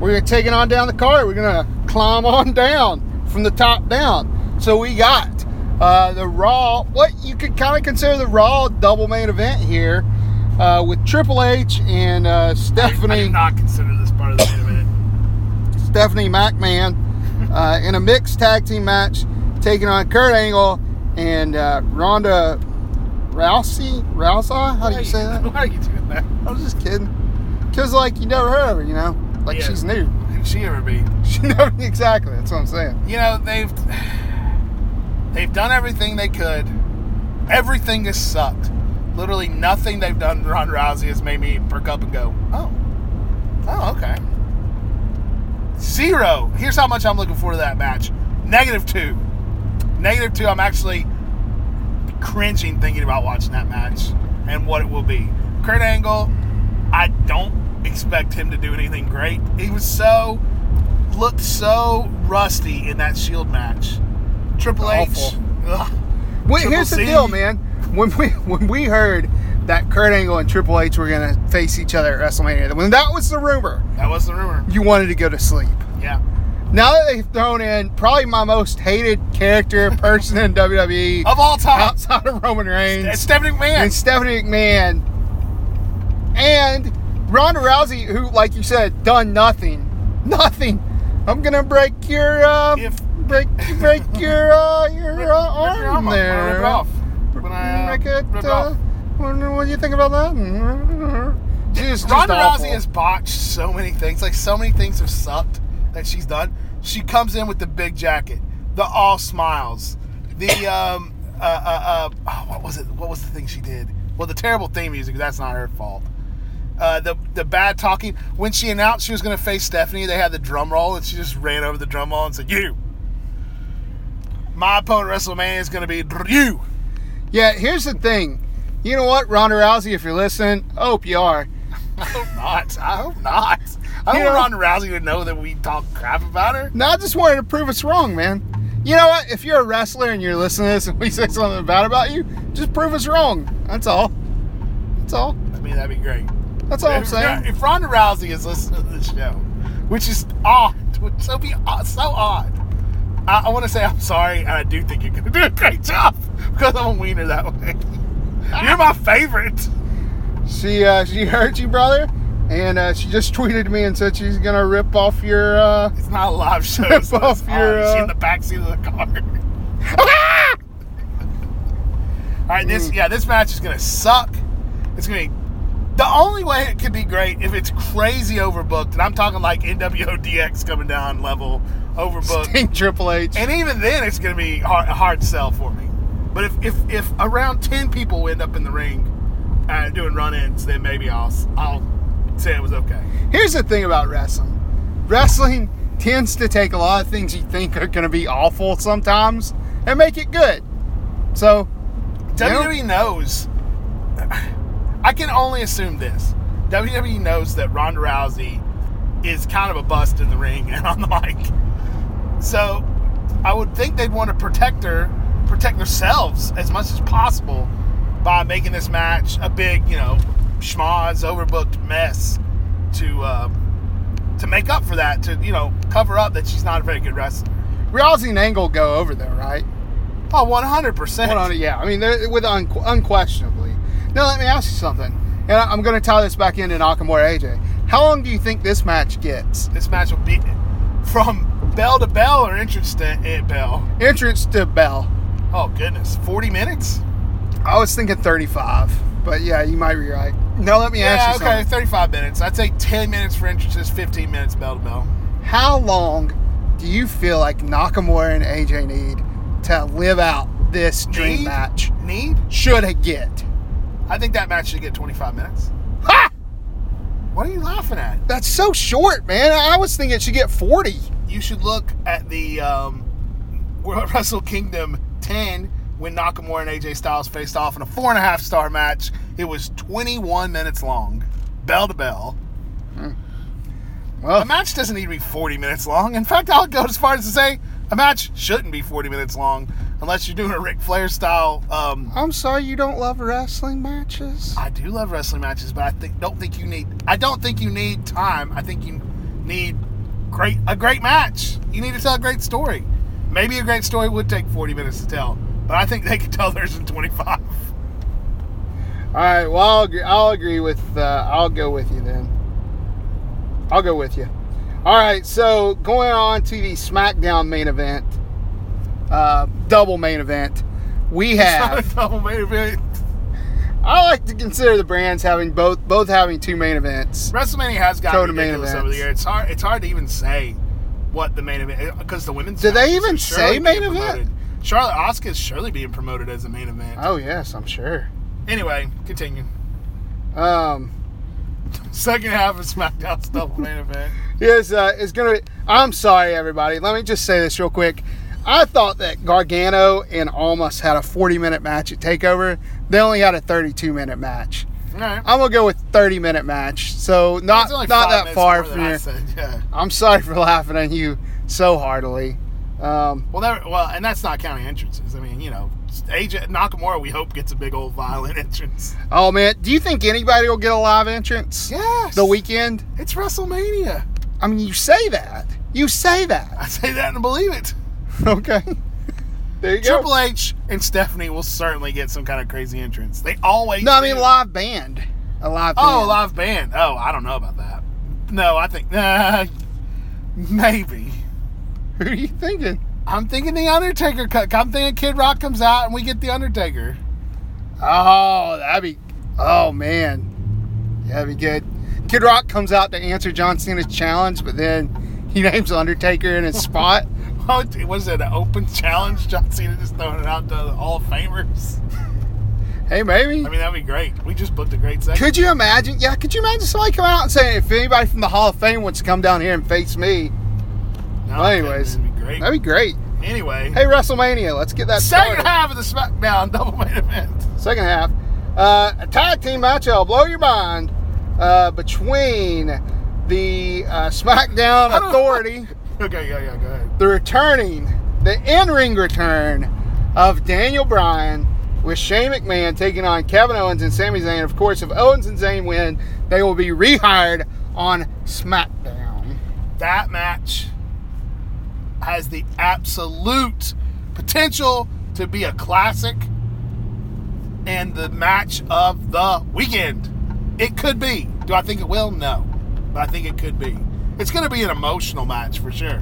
[SPEAKER 2] We're taking on down the card. We're going to climb on down from the top down. So we got uh, the Raw, what you could kind of consider the Raw double main event here uh, with Triple H and uh,
[SPEAKER 3] I do
[SPEAKER 2] Stephanie
[SPEAKER 3] not consider this part of the main event.
[SPEAKER 2] Stephanie McMahon uh, in a mixed tag team match taking on Kurt Angle and uh, Ronda Rousey. Rousey? How do you say that?
[SPEAKER 3] Why are you doing that?
[SPEAKER 2] I was just kidding. Because, like, you never heard of her, you know? Like,
[SPEAKER 3] Yeah.
[SPEAKER 2] she's new.
[SPEAKER 3] Who'd she ever be?
[SPEAKER 2] She never, exactly. That's what I'm saying.
[SPEAKER 3] You know they've they've done everything they could. Everything has sucked. Literally nothing they've done. to Ron Rousey has made me perk up and go, oh, oh, okay. Zero. Here's how much I'm looking forward to that match. Negative two. Negative two. I'm actually cringing thinking about watching that match and what it will be. Kurt Angle, I don't expect him to do anything great. He was so looked so rusty in that Shield match. Triple H.
[SPEAKER 2] Awful.
[SPEAKER 3] ugh.
[SPEAKER 2] Wait,
[SPEAKER 3] Triple
[SPEAKER 2] here's
[SPEAKER 3] C.
[SPEAKER 2] the deal, man. When we when we heard that Kurt Angle and Triple H were gonna face each other at WrestleMania, when that was the rumor,
[SPEAKER 3] That was the rumor.
[SPEAKER 2] you wanted to go to sleep.
[SPEAKER 3] Yeah.
[SPEAKER 2] Now that they've thrown in probably my most hated character person in WWE
[SPEAKER 3] Of all time.
[SPEAKER 2] outside of Roman
[SPEAKER 3] It's
[SPEAKER 2] Reigns
[SPEAKER 3] Oh. Stephanie
[SPEAKER 2] and
[SPEAKER 3] McMahon.
[SPEAKER 2] Stephanie McMahon and Ronda Rousey, who, like you said, done nothing, nothing. I'm gonna break your uh,
[SPEAKER 3] If-
[SPEAKER 2] break break your uh, your,
[SPEAKER 3] Rip-
[SPEAKER 2] uh,
[SPEAKER 3] rip your
[SPEAKER 2] arm
[SPEAKER 3] arm off.
[SPEAKER 2] there.
[SPEAKER 3] I ripped it off. When I uh,
[SPEAKER 2] Make it,
[SPEAKER 3] ripped it
[SPEAKER 2] uh,
[SPEAKER 3] off.
[SPEAKER 2] what, what do you think about that? She's just
[SPEAKER 3] Ronda
[SPEAKER 2] awful.
[SPEAKER 3] Rousey has botched so many things. Like so many things have sucked that she's done. She comes in with the big jacket, the all smiles, the um, uh, uh, uh, oh, what was it? What was the thing she did? Well, the terrible theme music. That's not her fault. Uh, the the bad talking. When she announced she was going to face Stephanie, they had the drum roll, and she just ran over the drum roll and said, "You, my opponent at WrestleMania is going to be you."
[SPEAKER 2] Yeah, here's the thing. You know what, Ronda Rousey, if you're listening, I hope you are.
[SPEAKER 3] I hope not. I hope not. I
[SPEAKER 2] You
[SPEAKER 3] don't
[SPEAKER 2] know-
[SPEAKER 3] want Ronda Rousey to know that we talk crap about her.
[SPEAKER 2] No, I just wanted to prove us wrong, man. You know what? If you're a wrestler and you're listening to this and we say something bad about you, just prove us wrong. That's all. That's all.
[SPEAKER 3] I mean, that'd be great.
[SPEAKER 2] That's all I'm
[SPEAKER 3] if,
[SPEAKER 2] saying.
[SPEAKER 3] If Ronda Rousey is listening to this show, which is odd, which so be odd, so odd. I, I want to say I'm sorry, and I do think you're going to do a great job because I'm a wiener that way. you're my favorite.
[SPEAKER 2] She uh, she hurt you, brother. And uh, she just tweeted me and said she's gonna rip off your. Uh,
[SPEAKER 3] It's not a live show. So
[SPEAKER 2] Off
[SPEAKER 3] it's
[SPEAKER 2] your,
[SPEAKER 3] fine. She's in
[SPEAKER 2] uh,
[SPEAKER 3] the backseat of the car. All right, this yeah, this match is gonna suck. It's gonna be the only way it could be great if it's crazy overbooked, and I'm talking like NWODX coming down level overbooked.
[SPEAKER 2] Sting Triple H.
[SPEAKER 3] and even then, it's gonna be hard, a hard sell for me. But if, if if around ten people end up in the ring uh, doing run-ins, then maybe I'll s- I'll say it was okay.
[SPEAKER 2] Here's the thing about wrestling wrestling tends to take a lot of things you think are going to be awful sometimes and make it good. So,
[SPEAKER 3] WWE E knows. I can only assume this. WWE knows that Ronda Rousey is kind of a bust in the ring and on the mic. So I would think they'd want to protect her, protect themselves as much as possible by making this match a big, you know, schmoz, overbooked mess to um, to make up for that, to, you know, cover up that she's not a very good wrestler.
[SPEAKER 2] Rousey and Angle go over there, right?
[SPEAKER 3] Oh, 100%.
[SPEAKER 2] Hold on, yeah. I mean, they're- with un- unquestionably. Now, let me ask you something. And I- I'm going to tie this back into Nakamura AJ. How long do you think this match gets?
[SPEAKER 3] this match will be from bell to bell or entrance to eh, bell.
[SPEAKER 2] Entrance to Bell.
[SPEAKER 3] Oh goodness, forty minutes?
[SPEAKER 2] I was thinking 35, but yeah, you might be right. Now, let me
[SPEAKER 3] Yeah,
[SPEAKER 2] ask you
[SPEAKER 3] okay,
[SPEAKER 2] something.
[SPEAKER 3] thirty-five minutes. I'd say ten minutes for entrances, fifteen minutes bell to bell.
[SPEAKER 2] How long do you feel like Nakamura and AJ need to live out this dream
[SPEAKER 3] Need?
[SPEAKER 2] match?
[SPEAKER 3] Need?
[SPEAKER 2] Should it get?
[SPEAKER 3] I think that match should get twenty-five minutes.
[SPEAKER 2] Ha!
[SPEAKER 3] What are you laughing at?
[SPEAKER 2] That's so short, man. I was thinking it should get 40.
[SPEAKER 3] You should look at the um, World Wrestle Kingdom ten when Nakamura and AJ Styles faced off in a four and a half star match. It was twenty-one minutes long, bell to bell.
[SPEAKER 2] Well,
[SPEAKER 3] A match doesn't need to be 40 minutes long. In fact, I'll go as far as to say a match shouldn't be 40 minutes long unless you're doing a Ric Flair style. Um,
[SPEAKER 2] I'm sorry you don't love wrestling matches.
[SPEAKER 3] I do love wrestling matches, but I think don't think you need. I don't think you need time. I think you need great a great match. You need to tell a great story. Maybe a great story would take 40 minutes to tell, but I think they could tell theirs in 25.
[SPEAKER 2] All right, well, I'll agree, I'll agree with, uh, I'll go with you then. I'll go with you. All right, so going on to the SmackDown main event, uh, double main event, we have.
[SPEAKER 3] Not a double main event.
[SPEAKER 2] I like to consider the brands having both both having two main events.
[SPEAKER 3] WrestleMania has
[SPEAKER 2] Go to
[SPEAKER 3] gotten
[SPEAKER 2] main
[SPEAKER 3] ridiculous over
[SPEAKER 2] events.
[SPEAKER 3] the year. It's hard. It's hard to even say what the main event because the women's.
[SPEAKER 2] Do they
[SPEAKER 3] matches are
[SPEAKER 2] even
[SPEAKER 3] surely
[SPEAKER 2] say
[SPEAKER 3] being
[SPEAKER 2] main event?
[SPEAKER 3] promoted. Charlotte Oscar is surely being promoted as a main event.
[SPEAKER 2] Oh yes, I'm sure.
[SPEAKER 3] Anyway, continue.
[SPEAKER 2] Um,
[SPEAKER 3] Second half of SmackDown's double main event.
[SPEAKER 2] is uh, is gonna. I'm sorry, everybody. Let me just say this real quick. I thought that Gargano and Almas had a 40 minute match at Takeover. They only had a 32 minute match.
[SPEAKER 3] All right.
[SPEAKER 2] I'm gonna go with 30 minute match. So not
[SPEAKER 3] It's only
[SPEAKER 2] not
[SPEAKER 3] five
[SPEAKER 2] that
[SPEAKER 3] minutes
[SPEAKER 2] far
[SPEAKER 3] more than
[SPEAKER 2] from
[SPEAKER 3] I
[SPEAKER 2] here.
[SPEAKER 3] said, Yeah.
[SPEAKER 2] I'm sorry for laughing at you so heartily. Um,
[SPEAKER 3] Well, that, well, and that's not counting entrances. I mean, you know, AJ Nakamura. We hope gets a big old violent entrance.
[SPEAKER 2] oh man, do you think anybody will get a live entrance?
[SPEAKER 3] Yes.
[SPEAKER 2] The weekend.
[SPEAKER 3] It's WrestleMania.
[SPEAKER 2] I mean, you say that. You say
[SPEAKER 3] I
[SPEAKER 2] that.
[SPEAKER 3] say that and believe it.
[SPEAKER 2] Okay. There you
[SPEAKER 3] Triple H and Stephanie will certainly get some kind of crazy entrance. They always.
[SPEAKER 2] No, I mean
[SPEAKER 3] do.
[SPEAKER 2] live band. A live.
[SPEAKER 3] Oh,
[SPEAKER 2] band.
[SPEAKER 3] live band. Oh, I don't know about that. No, I think uh, maybe.
[SPEAKER 2] Who are you thinking?
[SPEAKER 3] I'm thinking the Undertaker. co- I'm thinking Kid Rock comes out and we get the Undertaker.
[SPEAKER 2] Oh, that'd be. Oh man, that'd be good. Kid Rock comes out to answer John Cena's challenge, but then he names Undertaker in his spot.
[SPEAKER 3] What was it? An open challenge? John Cena just throwing it out to the Hall of Famers.
[SPEAKER 2] Hey, maybe.
[SPEAKER 3] I mean, that'd be great. We just booked a great segment.
[SPEAKER 2] Could you imagine? Yeah, could you imagine somebody coming out and saying, if anybody from the Hall of Fame wants to come down here and face me?
[SPEAKER 3] No,
[SPEAKER 2] Well, anyways,
[SPEAKER 3] Oh, that'd be great.
[SPEAKER 2] That'd be great.
[SPEAKER 3] anyway,
[SPEAKER 2] Hey, WrestleMania, let's get that started.
[SPEAKER 3] second half of the SmackDown double main event.
[SPEAKER 2] second half. Uh, a tag team match that'll blow your mind uh, between the uh, SmackDown
[SPEAKER 3] I don't-
[SPEAKER 2] Authority,
[SPEAKER 3] Okay, yeah, yeah, go ahead.
[SPEAKER 2] the returning, the in ring return of Daniel Bryan with Shane McMahon taking on Kevin Owens and Sami Zayn. Of course, if Owens and Zayn win, they will be rehired on SmackDown.
[SPEAKER 3] that match has the absolute potential to be a classic and the match of the weekend. It could be. Do I think it will? No. But I think it could be. It's going to be an emotional match for sure.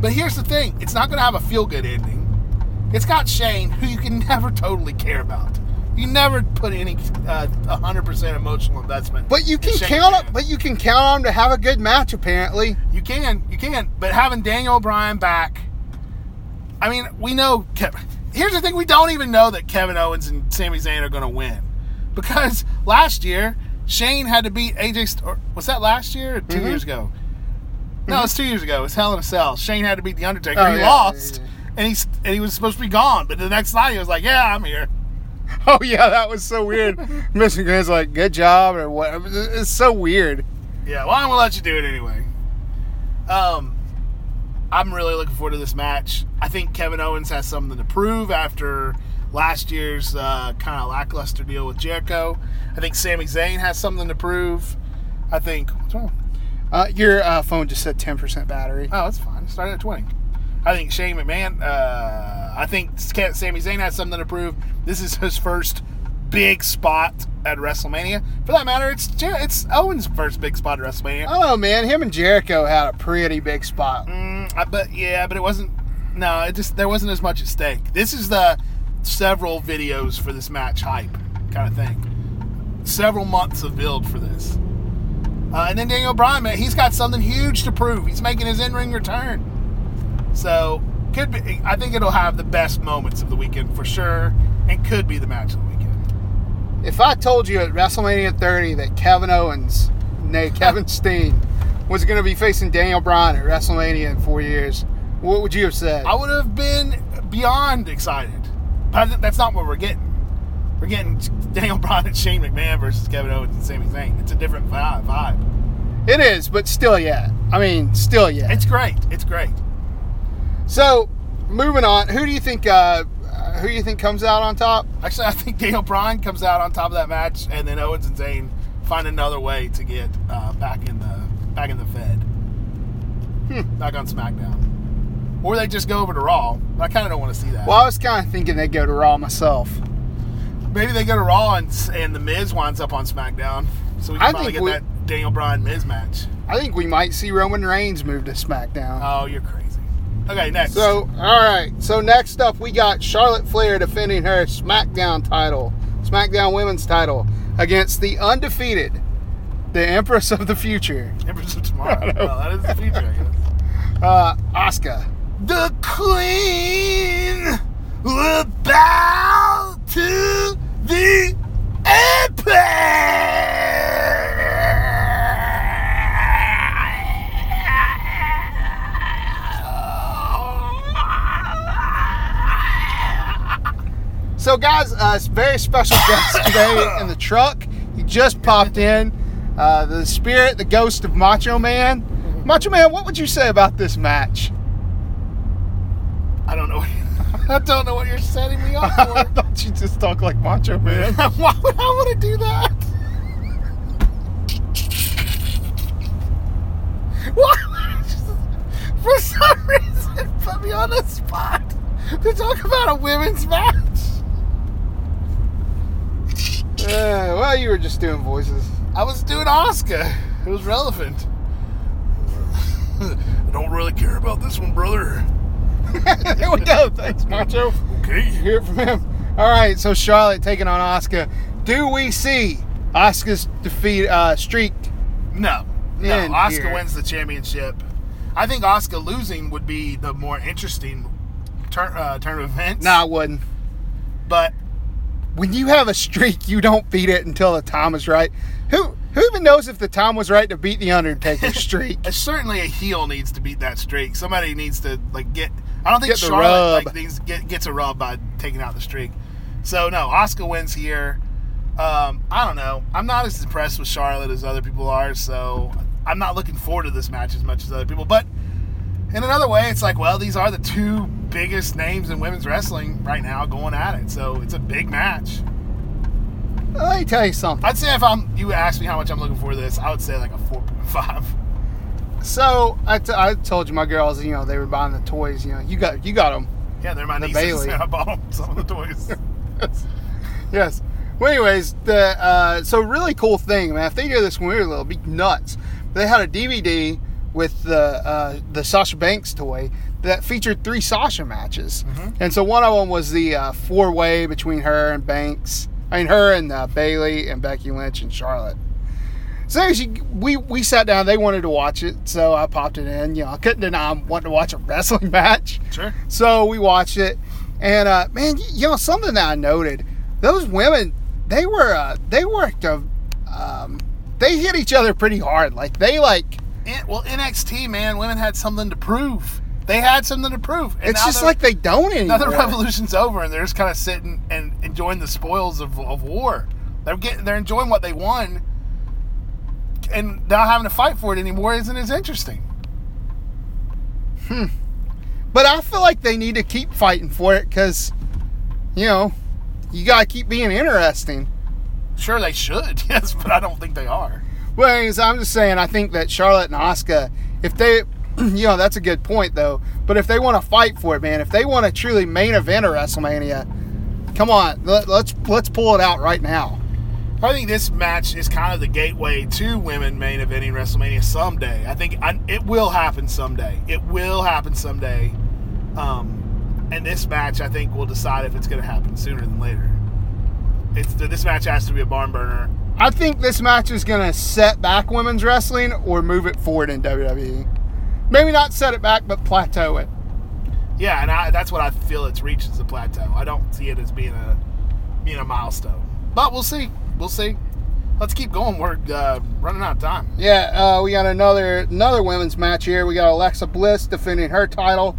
[SPEAKER 3] But here's the thing it's not going to have a feel good ending. It's got Shane, who you can never totally care about. You never put any uh, 100% emotional investment.
[SPEAKER 2] But you
[SPEAKER 3] in
[SPEAKER 2] can
[SPEAKER 3] Shane
[SPEAKER 2] count
[SPEAKER 3] McMahon.
[SPEAKER 2] on, but you can count on him to have a good match. Apparently,
[SPEAKER 3] You can, you can. But having Daniel Bryan back, I mean, we know. Kev- Here's the thing: we don't even know that Kevin Owens and Sami Zayn are going to win because last year Shane had to beat AJ. St- or was that last year or 2
[SPEAKER 2] Mm-hmm.
[SPEAKER 3] years ago? No, it's two years ago. It was Hell in a Cell. Shane had to beat the Undertaker.
[SPEAKER 2] Oh,
[SPEAKER 3] he
[SPEAKER 2] yeah, yeah,
[SPEAKER 3] lost,
[SPEAKER 2] yeah.
[SPEAKER 3] and he s- and he was supposed to be gone. But the next night he was like, "Yeah, I'm here."
[SPEAKER 2] oh yeah, that was so weird. Mr. Grant's like, "Good job," or what? It's so weird.
[SPEAKER 3] Yeah, well, I'm gonna let you do it anyway. Um, I'm really looking forward to this match. I think Kevin Owens has something to prove after last year's uh, kind of lackluster deal with Jericho. I think Sami Zayn has something to prove. I think. oh, What's wrong?
[SPEAKER 2] Uh, your uh, phone just said ten percent battery.
[SPEAKER 3] Oh, that's fine. It started at 20. I think Shane McMahon. Uh, I think Sca- Sami Zayn has something to prove. This is his first big spot at WrestleMania. For that matter, it's Jer- it's Owens' first big spot at WrestleMania.
[SPEAKER 2] I don't know, Oh, man. Him and Jericho had a pretty big spot.
[SPEAKER 3] Mm, I, but yeah, but it wasn't. No, it just there wasn't as much at stake. This is the several videos for this match hype kind of thing. Several months of build for this, uh, and then Daniel Bryan, man, he's got something huge to prove. He's making his in-ring return, so could be. I think it'll have the best moments of the weekend for sure, and could be the match of the weekend.
[SPEAKER 2] If I told you at WrestleMania 30 that Kevin Owens, nay Kevin Steen, was going to be facing Daniel Bryan at WrestleMania in four years, what would you have said?
[SPEAKER 3] I would have been beyond excited, but I think that's not what we're getting. We're getting Daniel Bryan and Shane McMahon versus Kevin Owens and Sami Zayn. It's a different vi- vibe.
[SPEAKER 2] It is, but still, yeah. I mean, still, yeah.
[SPEAKER 3] It's great. It's great.
[SPEAKER 2] so, moving on. Who do you think? Uh, who do you think comes out on top?
[SPEAKER 3] Actually, I think Daniel Bryan comes out on top of that match, and then Owens and Zayn find another way to get uh, back in the back in the Fed,
[SPEAKER 2] Hmm.
[SPEAKER 3] back on SmackDown, or they just go over to Raw. I kind of don't want to see that.
[SPEAKER 2] Well, I was kind of thinking they'd go to Raw myself.
[SPEAKER 3] Maybe they go to Raw and, and the Miz winds up on SmackDown, so we can
[SPEAKER 2] I
[SPEAKER 3] finally
[SPEAKER 2] think
[SPEAKER 3] get
[SPEAKER 2] we-
[SPEAKER 3] that Daniel Bryan Miz match.
[SPEAKER 2] I think we might see Roman Reigns move to SmackDown.
[SPEAKER 3] Oh, you're crazy. Okay, next.
[SPEAKER 2] So, all right. So next up, we got Charlotte Flair defending her SmackDown title, SmackDown Women's title, against the undefeated, the Empress of the Future,
[SPEAKER 3] Empress of Tomorrow. Well, that is the future, I guess.
[SPEAKER 2] uh, Asuka.
[SPEAKER 3] The Queen will bow to the Emperor.
[SPEAKER 2] So, guys, uh, it's a very special guest today in the truck. He just popped in. Uh, the spirit, the ghost of Macho Man. Macho Man, what would you say about this match?
[SPEAKER 3] I don't know. What, I don't know what you're setting me up
[SPEAKER 2] I
[SPEAKER 3] for.
[SPEAKER 2] thought you just talk like Macho Man.
[SPEAKER 3] Why would I want to do that? Why would I just, for some reason, put me on the spot to talk about a women's match?
[SPEAKER 2] Uh, well, you were just doing voices.
[SPEAKER 3] I was doing Oscar. It was relevant. I don't really care about this one, brother.
[SPEAKER 2] Here we go. Thanks, Macho.
[SPEAKER 3] Okay.
[SPEAKER 2] hear from him. All right, so Charlotte taking on Oscar. Do we see Oscar's defeat uh, streak?
[SPEAKER 3] No. No,
[SPEAKER 2] In
[SPEAKER 3] Oscar
[SPEAKER 2] here.
[SPEAKER 3] wins the championship. I think Oscar losing would be the more interesting turn, uh, turn of events.
[SPEAKER 2] No, I wouldn't.
[SPEAKER 3] But
[SPEAKER 2] When you have a streak, you don't beat it until the time is right. Who who even knows if the time was right to beat the Undertaker streak?
[SPEAKER 3] Uh, certainly a heel needs to beat that streak. Somebody needs to like get. I don't think
[SPEAKER 2] Get the
[SPEAKER 3] Charlotte
[SPEAKER 2] rub.
[SPEAKER 3] like these get, gets a rub by taking out the streak. So no, Oscar wins here. Um, I don't know. I'm not as impressed with Charlotte as other people are, so I'm not looking forward to this match as much as other people. But in another way, it's like, well, these are the two biggest names in women's wrestling right now going at it. So it's a big match.
[SPEAKER 2] Let me tell you something.
[SPEAKER 3] I'd say if I'm you asked me how much I'm looking for this, I would say like a 4.5.
[SPEAKER 2] So I, t- I told you my girls, you know, they were buying the toys. You know, you got you got them.
[SPEAKER 3] Yeah, they're my
[SPEAKER 2] The
[SPEAKER 3] nieces.
[SPEAKER 2] Bailey.
[SPEAKER 3] I bought them some of the toys.
[SPEAKER 2] Yes. Well, anyways, the uh, so really cool thing, man. If they do this when we were little, it'd be nuts. They had a DVD with the uh, the Sasha Banks toy that featured three Sasha matches, and so one of them was the uh, four way between her and Banks. I mean, her and uh, Bailey and Becky Lynch and Charlotte. So anyways, you- we we sat down. They wanted to watch it, so I popped it in. You know, I couldn't deny I wanted to watch a wrestling match.
[SPEAKER 3] Sure.
[SPEAKER 2] So we watched it, and uh, man, y- you know something that I noted: those women, they were uh, they worked a, um, they hit each other pretty hard. Like they like
[SPEAKER 3] It, well, NXT man, women had something to prove. They had something to prove. And
[SPEAKER 2] it's
[SPEAKER 3] now
[SPEAKER 2] just
[SPEAKER 3] they're-
[SPEAKER 2] like they don't anymore.
[SPEAKER 3] now the revolution's over, and they're just kind of sitting and enjoying the spoils of, of war. They're getting they're enjoying what they won, and not having to fight for it anymore isn't as interesting.
[SPEAKER 2] But I feel like they need to keep fighting for it because, you know, you gotta keep being interesting.
[SPEAKER 3] Sure, they should, yes, but I don't think they are.
[SPEAKER 2] Well, anyways, I'm just saying, I think that Charlotte and Oscar, if they, you know, that's a good point though. But if they want to fight for it, man, if they want to truly main event at WrestleMania, come on, let, let's let's pull it out right now.
[SPEAKER 3] I think this match is kind of the gateway to women main eventing WrestleMania someday. I think I, it will happen someday. It will happen someday, um, and this match I think will decide if it's going to happen sooner than later. It's this match has to be a barn burner
[SPEAKER 2] I think this match is gonna set back women's wrestling or move it forward in WWE. Maybe not set it back, but plateau it.
[SPEAKER 3] Yeah, and I, that's what I feel it's reached is a plateau. I don't see it as being a being a milestone, but we'll see. We'll see. Let's keep going. We're uh, running out of time.
[SPEAKER 2] Yeah, uh, we got another another women's match here. We got Alexa Bliss defending her title,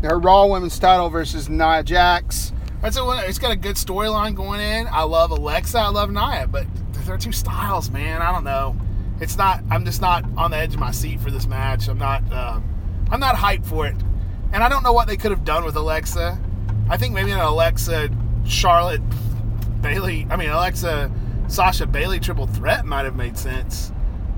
[SPEAKER 2] her Raw Women's title versus Nia Jax.
[SPEAKER 3] That's a, it's got a good storyline going in. I love Alexa. I love Nia, but they're two styles, man. I don't know. It's not. I'm just not on the edge of my seat for this match. I'm not. Um, I'm not hyped for it, and I don't know what they could have done with Alexa. I think maybe an Alexa Charlotte Bailey. I mean Alexa Sasha Bailey triple threat might have made sense,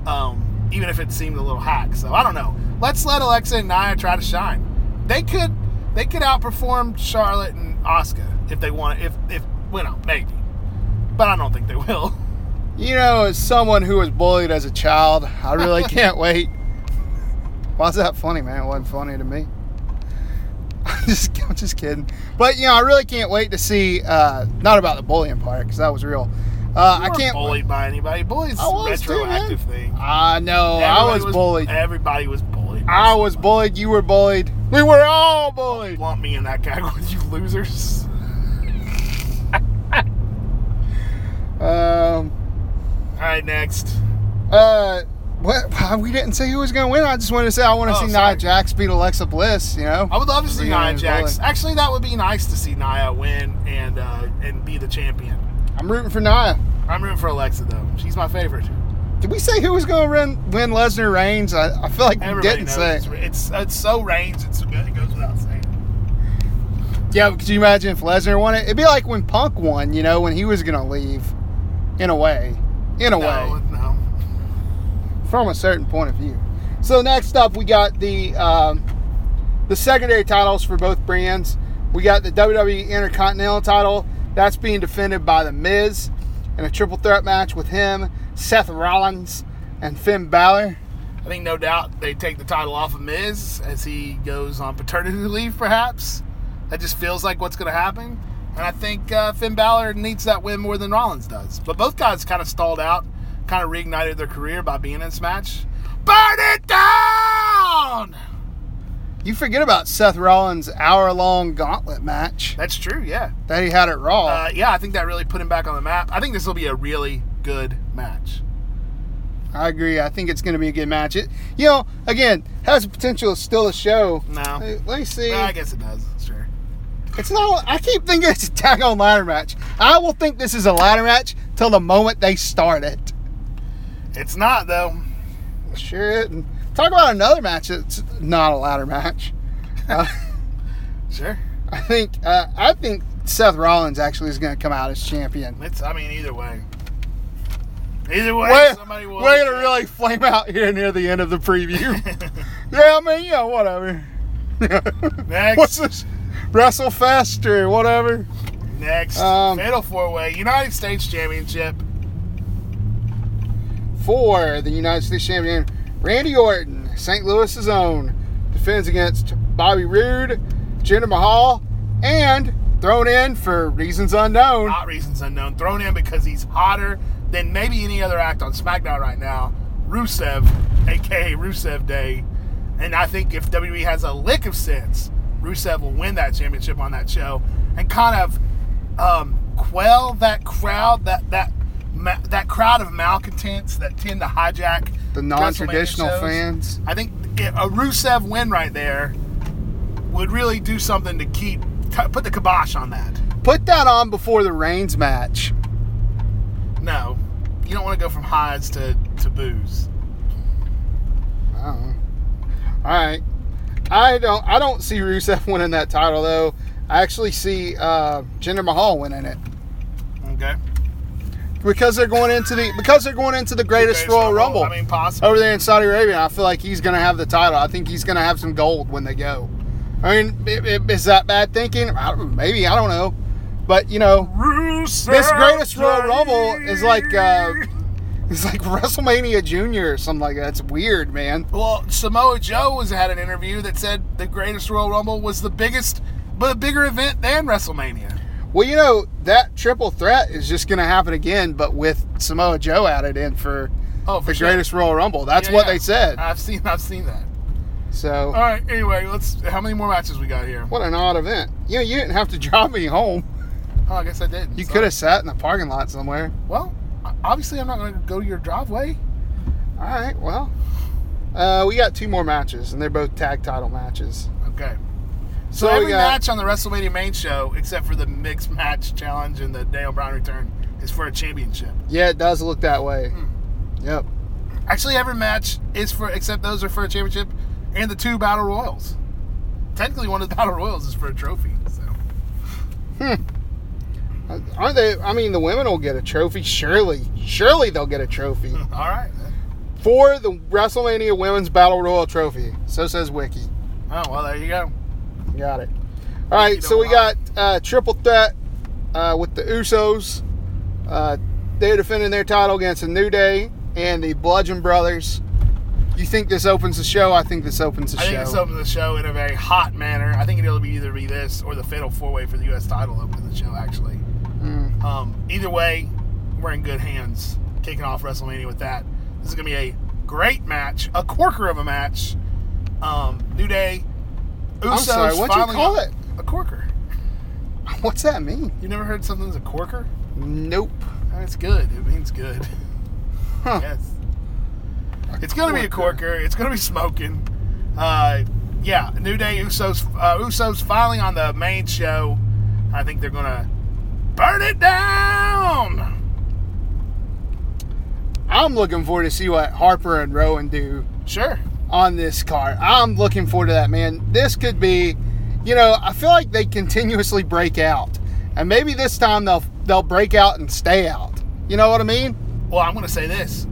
[SPEAKER 3] um, even if it seemed a little hack. So I don't know. Let's let Alexa and Nia try to shine. They could they could outperform Charlotte and Oscar if they want. If if you know maybe, but I don't think they will.
[SPEAKER 2] You know, as someone who was bullied as a child, I really can't wait. Why's that funny, man? It wasn't funny to me. I'm just, I'm just kidding. But you know, I really can't wait to see. Uh, not about the bullying part because that was real. Uh, I
[SPEAKER 3] You weren't
[SPEAKER 2] can't.
[SPEAKER 3] bullied by anybody. Bullies
[SPEAKER 2] I was too, man.
[SPEAKER 3] retroactive thing.
[SPEAKER 2] I know. I
[SPEAKER 3] Everybody
[SPEAKER 2] was, bullied.
[SPEAKER 3] Everybody was bullied.
[SPEAKER 2] I was bullied. You were bullied. We were all bullied.
[SPEAKER 3] want me in that category, you losers.
[SPEAKER 2] Um.
[SPEAKER 3] All right, next.
[SPEAKER 2] Uh, what? why- We didn't say who was going to win. I just wanted to say I want to
[SPEAKER 3] Oh,
[SPEAKER 2] see
[SPEAKER 3] sorry.
[SPEAKER 2] Nia Jax beat Alexa Bliss. You know,
[SPEAKER 3] I would love to see
[SPEAKER 2] Yeah,
[SPEAKER 3] Nia Jax.
[SPEAKER 2] bully.
[SPEAKER 3] Actually, that would be nice to see Nia win and uh, and be the champion.
[SPEAKER 2] I'm rooting for Nia.
[SPEAKER 3] I'm rooting for Alexa though. She's my favorite.
[SPEAKER 2] Did we say who was going to win, win Lesnar Reigns? I, I feel like we
[SPEAKER 3] Everybody
[SPEAKER 2] didn't
[SPEAKER 3] knows
[SPEAKER 2] say.
[SPEAKER 3] it's, it's it's so Reigns. It's it goes without saying.
[SPEAKER 2] Yeah, but could you imagine if Lesnar won it? It'd be like when Punk won. You know, when he was going to leave. In a way, in a
[SPEAKER 3] No,
[SPEAKER 2] way,
[SPEAKER 3] no.
[SPEAKER 2] from a certain point of view. So next up, we got the um, the secondary titles for both brands. We got the WWE Intercontinental title that's being defended by The Miz in a triple threat match with him, Seth Rollins, and Finn Balor.
[SPEAKER 3] I think no doubt they take the title off of Miz as he goes on paternity leave, perhaps. That just feels like what's going to happen. And I think uh, Finn Balor needs that win more than Rollins does. But both guys kind of stalled out, kind of reignited their career by being in this match. Burn it down!
[SPEAKER 2] You forget about Seth Rollins' hour long gauntlet match
[SPEAKER 3] That's true, yeah.
[SPEAKER 2] that he had at Raw.
[SPEAKER 3] Uh, yeah, I think that really put him back on the map. I think this will be a really good match.
[SPEAKER 2] I agree. I think it's going to be a good match. It, you know, again, has the potential to steal the show.
[SPEAKER 3] No.
[SPEAKER 2] Hey, Let me see.
[SPEAKER 3] Well, I guess it does, sure.
[SPEAKER 2] It's not. I keep thinking it's a tag on ladder match. I will think this is a ladder match till the moment they start it.
[SPEAKER 3] It's not, though.
[SPEAKER 2] Sure. And talk about another match that's not a ladder match. Uh,
[SPEAKER 3] Sure.
[SPEAKER 2] I think. Uh, I think Seth Rollins actually is going to come out as champion.
[SPEAKER 3] It's, I mean, either way. Either way,
[SPEAKER 2] Way,
[SPEAKER 3] somebody will.
[SPEAKER 2] way to really flame out here near the end of the preview. yeah, I mean, yeah, whatever.
[SPEAKER 3] Next.
[SPEAKER 2] What's this? WrestleFest or whatever.
[SPEAKER 3] Next,
[SPEAKER 2] Um,
[SPEAKER 3] Fatal Four Way United States Championship.
[SPEAKER 2] for the United States Champion Randy Orton, St. Louis's own, defends against Bobby Roode, Jinder Mahal, and thrown in for reasons unknown,
[SPEAKER 3] Hot reasons unknown. Thrown in because he's hotter than maybe any other act on SmackDown right now. Rusev, aka Rusev Day, and I think if WWE has a lick of sense, Rusev will win that championship on that show and kind of um, quell that crowd that that ma- that crowd of malcontents that tend to hijack
[SPEAKER 2] the
[SPEAKER 3] WrestleMania
[SPEAKER 2] non-traditional
[SPEAKER 3] shows.
[SPEAKER 2] fans.
[SPEAKER 3] I think a Rusev win right there would really do something to keep t- put the kibosh on that.
[SPEAKER 2] Put that on before the Reigns match.
[SPEAKER 3] No, you don't want to go from highs to to booze.
[SPEAKER 2] Oh. All right, I don't. I don't see Rusev winning that title though. I actually see uh, Jinder Mahal winning it
[SPEAKER 3] Okay.
[SPEAKER 2] because they're going into the because they're going into the greatest, Royal Rumble. Oh.
[SPEAKER 3] I mean, possible.
[SPEAKER 2] over there in Saudi Arabia. I feel like he's going to have the title. I think he's going to have some gold when they go. I mean, i- i- is that bad thinking? I don't, maybe I don't know, but you know,
[SPEAKER 3] Rusev
[SPEAKER 2] this greatest Royal
[SPEAKER 3] Day.
[SPEAKER 2] Rumble is like uh, it's like WrestleMania Junior or something like that. It's weird, man.
[SPEAKER 3] Well, Samoa Joe was had an interview that said the greatest Royal Rumble was the biggest, but a bigger event than WrestleMania.
[SPEAKER 2] Well, you know that triple threat is just going to happen again, but with Samoa Joe added in for
[SPEAKER 3] Oh, for
[SPEAKER 2] the
[SPEAKER 3] sure.
[SPEAKER 2] greatest Royal Rumble. That's
[SPEAKER 3] Yeah,
[SPEAKER 2] what
[SPEAKER 3] yeah. Uh,
[SPEAKER 2] they said.
[SPEAKER 3] I've seen. I've seen that.
[SPEAKER 2] So
[SPEAKER 3] All right. Anyway, let's. How many more matches we got here?
[SPEAKER 2] what an odd event. You know, you didn't have to drive me home.
[SPEAKER 3] Oh, I guess I did.
[SPEAKER 2] You could have sat in the parking lot somewhere.
[SPEAKER 3] Well, o- obviously, I'm not going to go to your driveway.
[SPEAKER 2] All right, well, uh, we got two more matches, and they're both tag title matches.
[SPEAKER 3] Okay. So,
[SPEAKER 2] So we
[SPEAKER 3] every
[SPEAKER 2] got-
[SPEAKER 3] match on the WrestleMania main show, except for the mixed match challenge and the Daniel Bryan return, is for a championship.
[SPEAKER 2] Yeah, it does look that way.
[SPEAKER 3] Hmm.
[SPEAKER 2] Yep.
[SPEAKER 3] Actually, every match is for, except those are for a championship, and the two battle royals. Technically, one of the battle royals is for a trophy. So
[SPEAKER 2] Uh, Aren't they? I mean, the women will get a trophy, surely. Surely they'll get a trophy
[SPEAKER 3] all right. then.
[SPEAKER 2] for the WrestleMania Women's Battle Royal Trophy. So says Wiki.
[SPEAKER 3] Oh well, there you go.
[SPEAKER 2] Got it. All right,
[SPEAKER 3] don't
[SPEAKER 2] so we
[SPEAKER 3] lie.
[SPEAKER 2] got uh, triple threat uh, with the Usos. Uh, they're defending their title against the New Day and the Bludgeon Brothers. You think this opens the show? I think this opens the
[SPEAKER 3] I
[SPEAKER 2] show.
[SPEAKER 3] think this opens the show in a very hot manner. I think it'll be either be this or the Fatal Four Way for the U.S. title open the show. Actually,
[SPEAKER 2] Hmm.
[SPEAKER 3] um, either way, we're in good hands. Kicking off WrestleMania with that. This is gonna be a great match, a corker of a match. Um, New Day, Usos.
[SPEAKER 2] sorry, what'd you
[SPEAKER 3] finally-
[SPEAKER 2] call it?
[SPEAKER 3] A corker.
[SPEAKER 2] What's that mean?
[SPEAKER 3] You never heard something's a corker?
[SPEAKER 2] Nope.
[SPEAKER 3] That's good. It means good.
[SPEAKER 2] Huh.
[SPEAKER 3] Yes. It's gonna be a corker. It's gonna be smoking. Uh, yeah, New Day Usos. Uh, Usos finally on the main show. I think they're gonna burn it down.
[SPEAKER 2] I'm looking forward to see what Harper and Rowan do
[SPEAKER 3] Sure.
[SPEAKER 2] on this car. I'm looking forward to that, man. This could be, you know, I feel like they continuously break out, and maybe this time they'll they'll break out and stay out. You know what I mean?
[SPEAKER 3] Well, I'm gonna say this: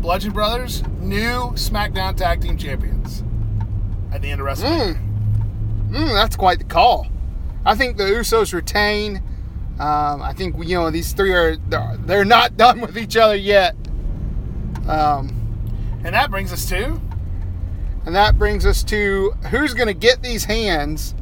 [SPEAKER 3] Bludgeon Brothers, new SmackDown Tag Team Champions. At the end of WrestleMania.
[SPEAKER 2] Mm, that's quite the call. I think the Usos retain. Um, I think you know these three are they're, they're not done with each other yet. Um,
[SPEAKER 3] And that brings us to
[SPEAKER 2] and that brings us to who's going to get these hands?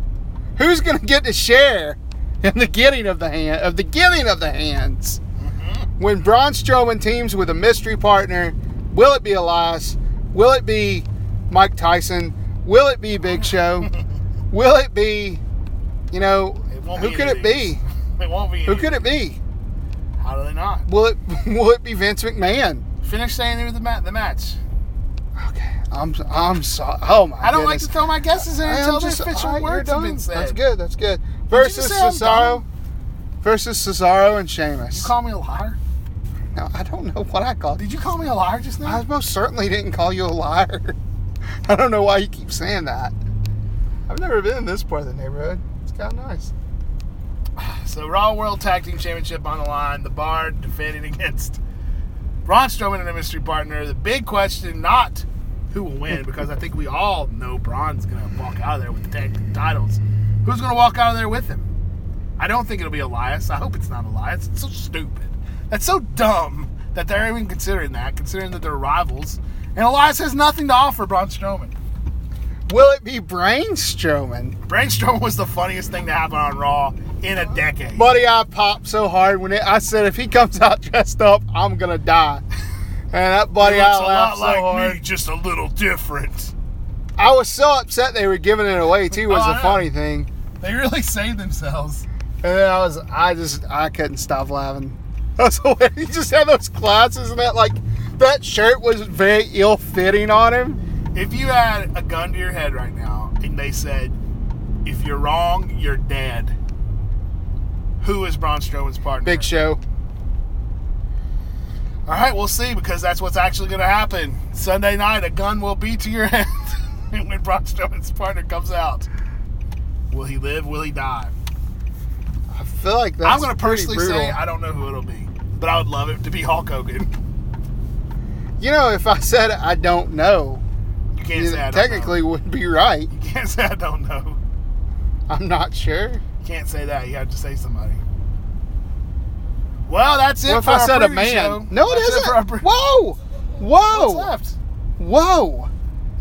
[SPEAKER 2] Who's going to get to share in the getting of the hand of the giving of the hands?
[SPEAKER 3] Mm-hmm.
[SPEAKER 2] When Braun Strowman teams with a mystery partner, will it be Elias? Will it be Mike Tyson? Will it be Big Show? will it be, you know,
[SPEAKER 3] it won't
[SPEAKER 2] who
[SPEAKER 3] be
[SPEAKER 2] could
[SPEAKER 3] any
[SPEAKER 2] it
[SPEAKER 3] of
[SPEAKER 2] be?
[SPEAKER 3] these. It won't be.
[SPEAKER 2] Who
[SPEAKER 3] any-
[SPEAKER 2] could it be?
[SPEAKER 3] How do they not?
[SPEAKER 2] Will it will it be Vince McMahon?
[SPEAKER 3] Finish saying who the ma- the match.
[SPEAKER 2] Okay, I'm I'm sorry. Oh my!
[SPEAKER 3] I don't like
[SPEAKER 2] goodness.
[SPEAKER 3] to throw my guesses in
[SPEAKER 2] I am
[SPEAKER 3] until the
[SPEAKER 2] just-
[SPEAKER 3] official
[SPEAKER 2] alright, you're
[SPEAKER 3] words have been
[SPEAKER 2] done.
[SPEAKER 3] said.
[SPEAKER 2] That's good. That's good.
[SPEAKER 3] you
[SPEAKER 2] Versus
[SPEAKER 3] say I'm
[SPEAKER 2] Cesaro.
[SPEAKER 3] done?
[SPEAKER 2] Versus Cesaro and
[SPEAKER 3] You
[SPEAKER 2] Sheamus.
[SPEAKER 3] call me a liar?
[SPEAKER 2] no, I don't know what I called you.
[SPEAKER 3] Did you call me a liar just now?
[SPEAKER 2] I most certainly didn't call you a liar. I don't know why you keep saying that. I've never been in this part of the neighborhood. It's kind of nice.
[SPEAKER 3] So Raw World Tag Team Championship on the line. The Bard defending against Braun Strowman and a mystery partner. The big question, not who will win, because I think we all know Braun's going to walk out of there with the tag team titles. Who's going to walk out of there with him? I I don't think it'll be Elias. I hope it's not Elias. It's so stupid. That's so dumb that they're even considering that, considering that they're rivals. And Elias has nothing to offer Braun Strowman.
[SPEAKER 2] Will it be Brainstrowman?
[SPEAKER 3] Braun Strowman was the funniest thing to happen on Raw in a decade.
[SPEAKER 2] Buddy, I popped so hard when it, I said if he comes out dressed up, I'm gonna die. And that buddy,
[SPEAKER 3] He looks
[SPEAKER 2] I
[SPEAKER 3] a
[SPEAKER 2] laughed
[SPEAKER 3] lot
[SPEAKER 2] so
[SPEAKER 3] like
[SPEAKER 2] hard.
[SPEAKER 3] me, just a little different.
[SPEAKER 2] I was so upset they were giving it away too. Was
[SPEAKER 3] Oh, I
[SPEAKER 2] the
[SPEAKER 3] know.
[SPEAKER 2] funny thing.
[SPEAKER 3] They really saved themselves.
[SPEAKER 2] And then I was, I just, I couldn't stop laughing. That's the way he just had those glasses and that, like, that shirt was very ill fitting on him.
[SPEAKER 3] If you had a gun to your head right now and they said, if you're wrong, you're dead, who is Braun Strowman's partner?
[SPEAKER 2] Big Show.
[SPEAKER 3] All right, we'll see because that's what's actually going to happen. Sunday night, a gun will be to your head when Braun Strowman's partner comes out. Will he live? Will he die?
[SPEAKER 2] I feel like that's
[SPEAKER 3] I'm going to
[SPEAKER 2] pretty
[SPEAKER 3] personally
[SPEAKER 2] brutal.
[SPEAKER 3] say I don't know who it'll be, but I would love it to be Hulk Hogan.
[SPEAKER 2] you know, if I said I don't know,
[SPEAKER 3] You can't
[SPEAKER 2] you
[SPEAKER 3] say I don't
[SPEAKER 2] technically would be right.
[SPEAKER 3] know. You can't say I don't know.
[SPEAKER 2] I'm not sure.
[SPEAKER 3] You can't say that. You have to say somebody. Well, that's it.
[SPEAKER 2] What if
[SPEAKER 3] for
[SPEAKER 2] I
[SPEAKER 3] our
[SPEAKER 2] said a
[SPEAKER 3] preview
[SPEAKER 2] man?
[SPEAKER 3] show.
[SPEAKER 2] No, it
[SPEAKER 3] That's
[SPEAKER 2] isn't.
[SPEAKER 3] for our pre-
[SPEAKER 2] Whoa! Whoa!
[SPEAKER 3] What's left?
[SPEAKER 2] Whoa!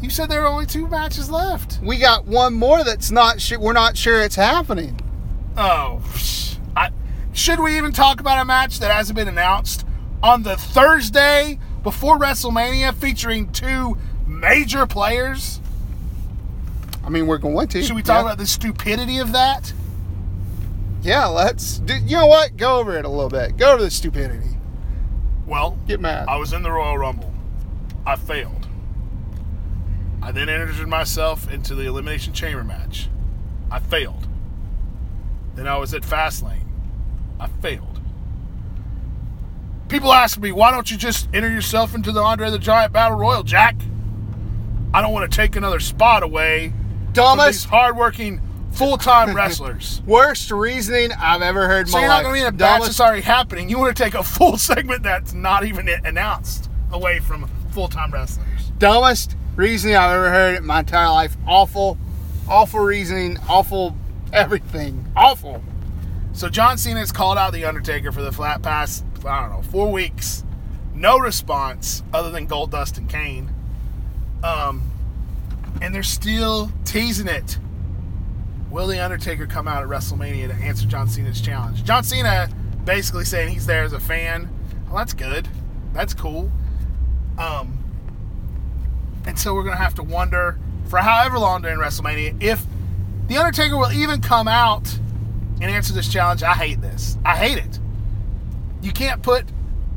[SPEAKER 3] You said there were only two matches left.
[SPEAKER 2] We got one more that's not sure. We're not sure it's happening.
[SPEAKER 3] Oh, I, should we even talk about a match that hasn't been announced on the Thursday before WrestleMania featuring two major players?
[SPEAKER 2] I mean, we're going to.
[SPEAKER 3] Should we talk
[SPEAKER 2] yeah.
[SPEAKER 3] about the stupidity of that?
[SPEAKER 2] Yeah, let's. Do, you know what? Go over it a little bit. Go over the stupidity.
[SPEAKER 3] Well,
[SPEAKER 2] Get mad.
[SPEAKER 3] I was in the Royal Rumble. I failed. I then entered myself into the Elimination Chamber match. I failed. Then I was at Fastlane. I failed. People ask me, why don't you just enter yourself into the Andre the Giant Battle Royal, Jack? I don't want to take another spot away from these
[SPEAKER 2] Dumbest,
[SPEAKER 3] hardworking, full-time wrestlers.
[SPEAKER 2] worst reasoning I've ever heard. in
[SPEAKER 3] So
[SPEAKER 2] my
[SPEAKER 3] you're not
[SPEAKER 2] life.
[SPEAKER 3] going to be in a batch
[SPEAKER 2] Dumbest-
[SPEAKER 3] that's already happening. You want to take a full segment that's not even announced away from full-time wrestlers.
[SPEAKER 2] dumbest reasoning I've ever heard in my entire life. Awful, awful reasoning. Awful everything. Awful.
[SPEAKER 3] So John Cena has called out the Undertaker for the flat pass. I don't know, four weeks, no response other than Gold Dust and Kane. Um, and they're still teasing it. Will the Undertaker come out at WrestleMania to answer John Cena's challenge? John Cena basically saying he's there as a fan. Well, that's good. That's cool. Um, and so we're gonna have to wonder for however long during WrestleMania if the Undertaker will even come out and answer this challenge. I hate this. I hate it. You can't put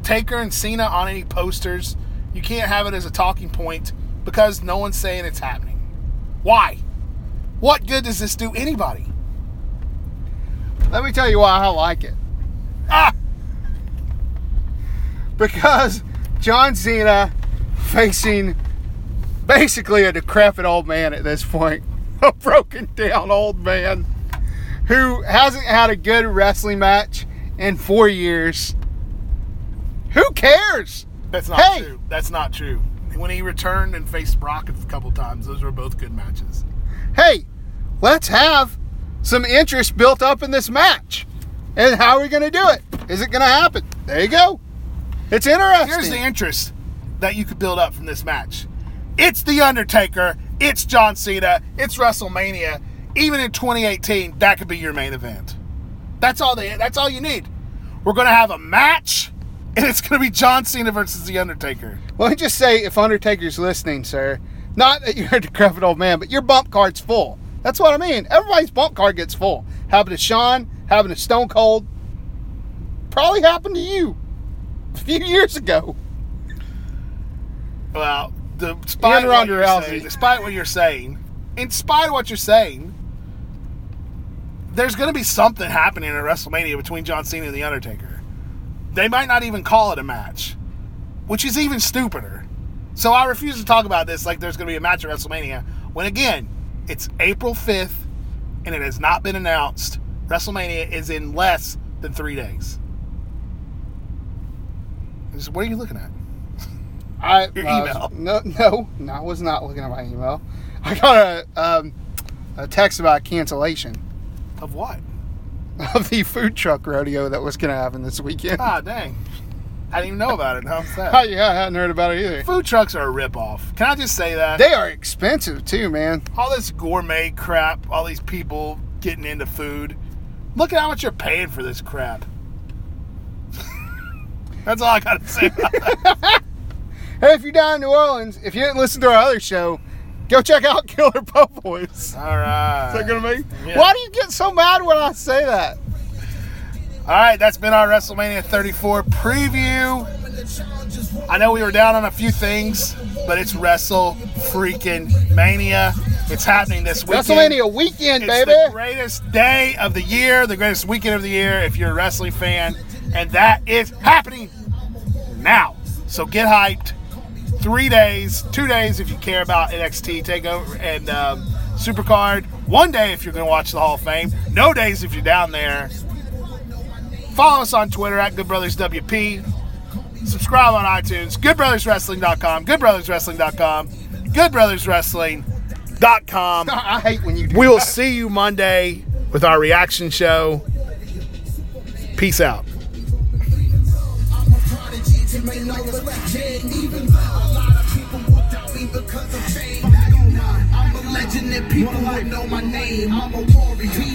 [SPEAKER 3] Taker and Cena on any posters. You can't have it as a talking point because no one's saying it's happening. Why? What good does this do anybody?
[SPEAKER 2] Let me tell you why I like it.
[SPEAKER 3] Ah,
[SPEAKER 2] Because John Cena facing basically a decrepit old man at this point, a broken down old man who hasn't had a good wrestling match in four years. Who cares?
[SPEAKER 3] that's not
[SPEAKER 2] Hey!
[SPEAKER 3] true. That's not true. When he returned and faced Brock a couple times, those were both good matches.
[SPEAKER 2] Hey, let's have some interest built up in this match. And how are we going to do it? Is it going to happen? There you go. It's interesting.
[SPEAKER 3] Here's the interest that you could build up from this match. It's The Undertaker. It's John Cena. It's WrestleMania. Even in 2018, that could be your main event. That's all they. That's all you need. We're gonna have a match, and it's gonna be John Cena versus The Undertaker.
[SPEAKER 2] Let me just say, if Undertaker's listening, sir, not that you're a decrepit old man, but your bump card's full. That's what I mean. Everybody's bump card gets full. Happened to Sean, happened to Stone Cold. Probably happened to you a few years ago.
[SPEAKER 3] Well, the, despite
[SPEAKER 2] And
[SPEAKER 3] what
[SPEAKER 2] Ronda
[SPEAKER 3] you're
[SPEAKER 2] Rousey.
[SPEAKER 3] saying, despite what you're saying, in spite of what you're saying, there's going to be something happening at WrestleMania between John Cena and The Undertaker. They might not even call it a match, which is even stupider. So I refuse to talk about this like there's going to be a match at WrestleMania when, again, it's April 5th and it has not been announced. WrestleMania is in less than three days. What are you looking at?
[SPEAKER 2] I,
[SPEAKER 3] Your
[SPEAKER 2] I
[SPEAKER 3] email.
[SPEAKER 2] Was, no, no, no, I was not looking at my email. I got a, um, a text about cancellation.
[SPEAKER 3] Of what?
[SPEAKER 2] of the food truck rodeo that was going to happen this weekend.
[SPEAKER 3] Ah, dang. I didn't even know about it. How upset.
[SPEAKER 2] Oh, yeah, I hadn't heard about it either.
[SPEAKER 3] Food trucks are a ripoff. Can I just say that?
[SPEAKER 2] They are expensive too, man.
[SPEAKER 3] all this gourmet crap, all these people getting into food. Look at how much you're paying for this crap. That's all I got to say. about that.
[SPEAKER 2] Hey, if you're down in New Orleans, if you didn't listen to our other show, go check out Killer Popoys. Is
[SPEAKER 3] all right.
[SPEAKER 2] that gonna be?
[SPEAKER 3] Yeah.
[SPEAKER 2] Why do you get so mad when I say that?
[SPEAKER 3] All right, that's been our WrestleMania 34 preview. I know we were down on a few things, but it's Wrestle Freaking Mania. It's happening this weekend.
[SPEAKER 2] WrestleMania weekend,
[SPEAKER 3] It's
[SPEAKER 2] baby.
[SPEAKER 3] the greatest day of the year, the greatest weekend of the year if you're a wrestling fan, and that is happening now. So get hyped. Three days, two days if you care about NXT Takeover and um, Supercard. One day if you're going to watch the Hall of Fame. No days if you're down there. Follow us on Twitter at Good Brothers WP. Subscribe on iTunes, goodbrotherswrestling.com, goodbrotherswrestling.com, goodbrotherswrestling.com.
[SPEAKER 2] I hate when you do
[SPEAKER 3] We'll see you Monday with our reaction show. Peace out.
[SPEAKER 1] I'm a prodigy, taking all that's left dead. Even though a lot of people will doubt me because of fame. I don't know. I'm a legend and people will know my name. I'm a warrior.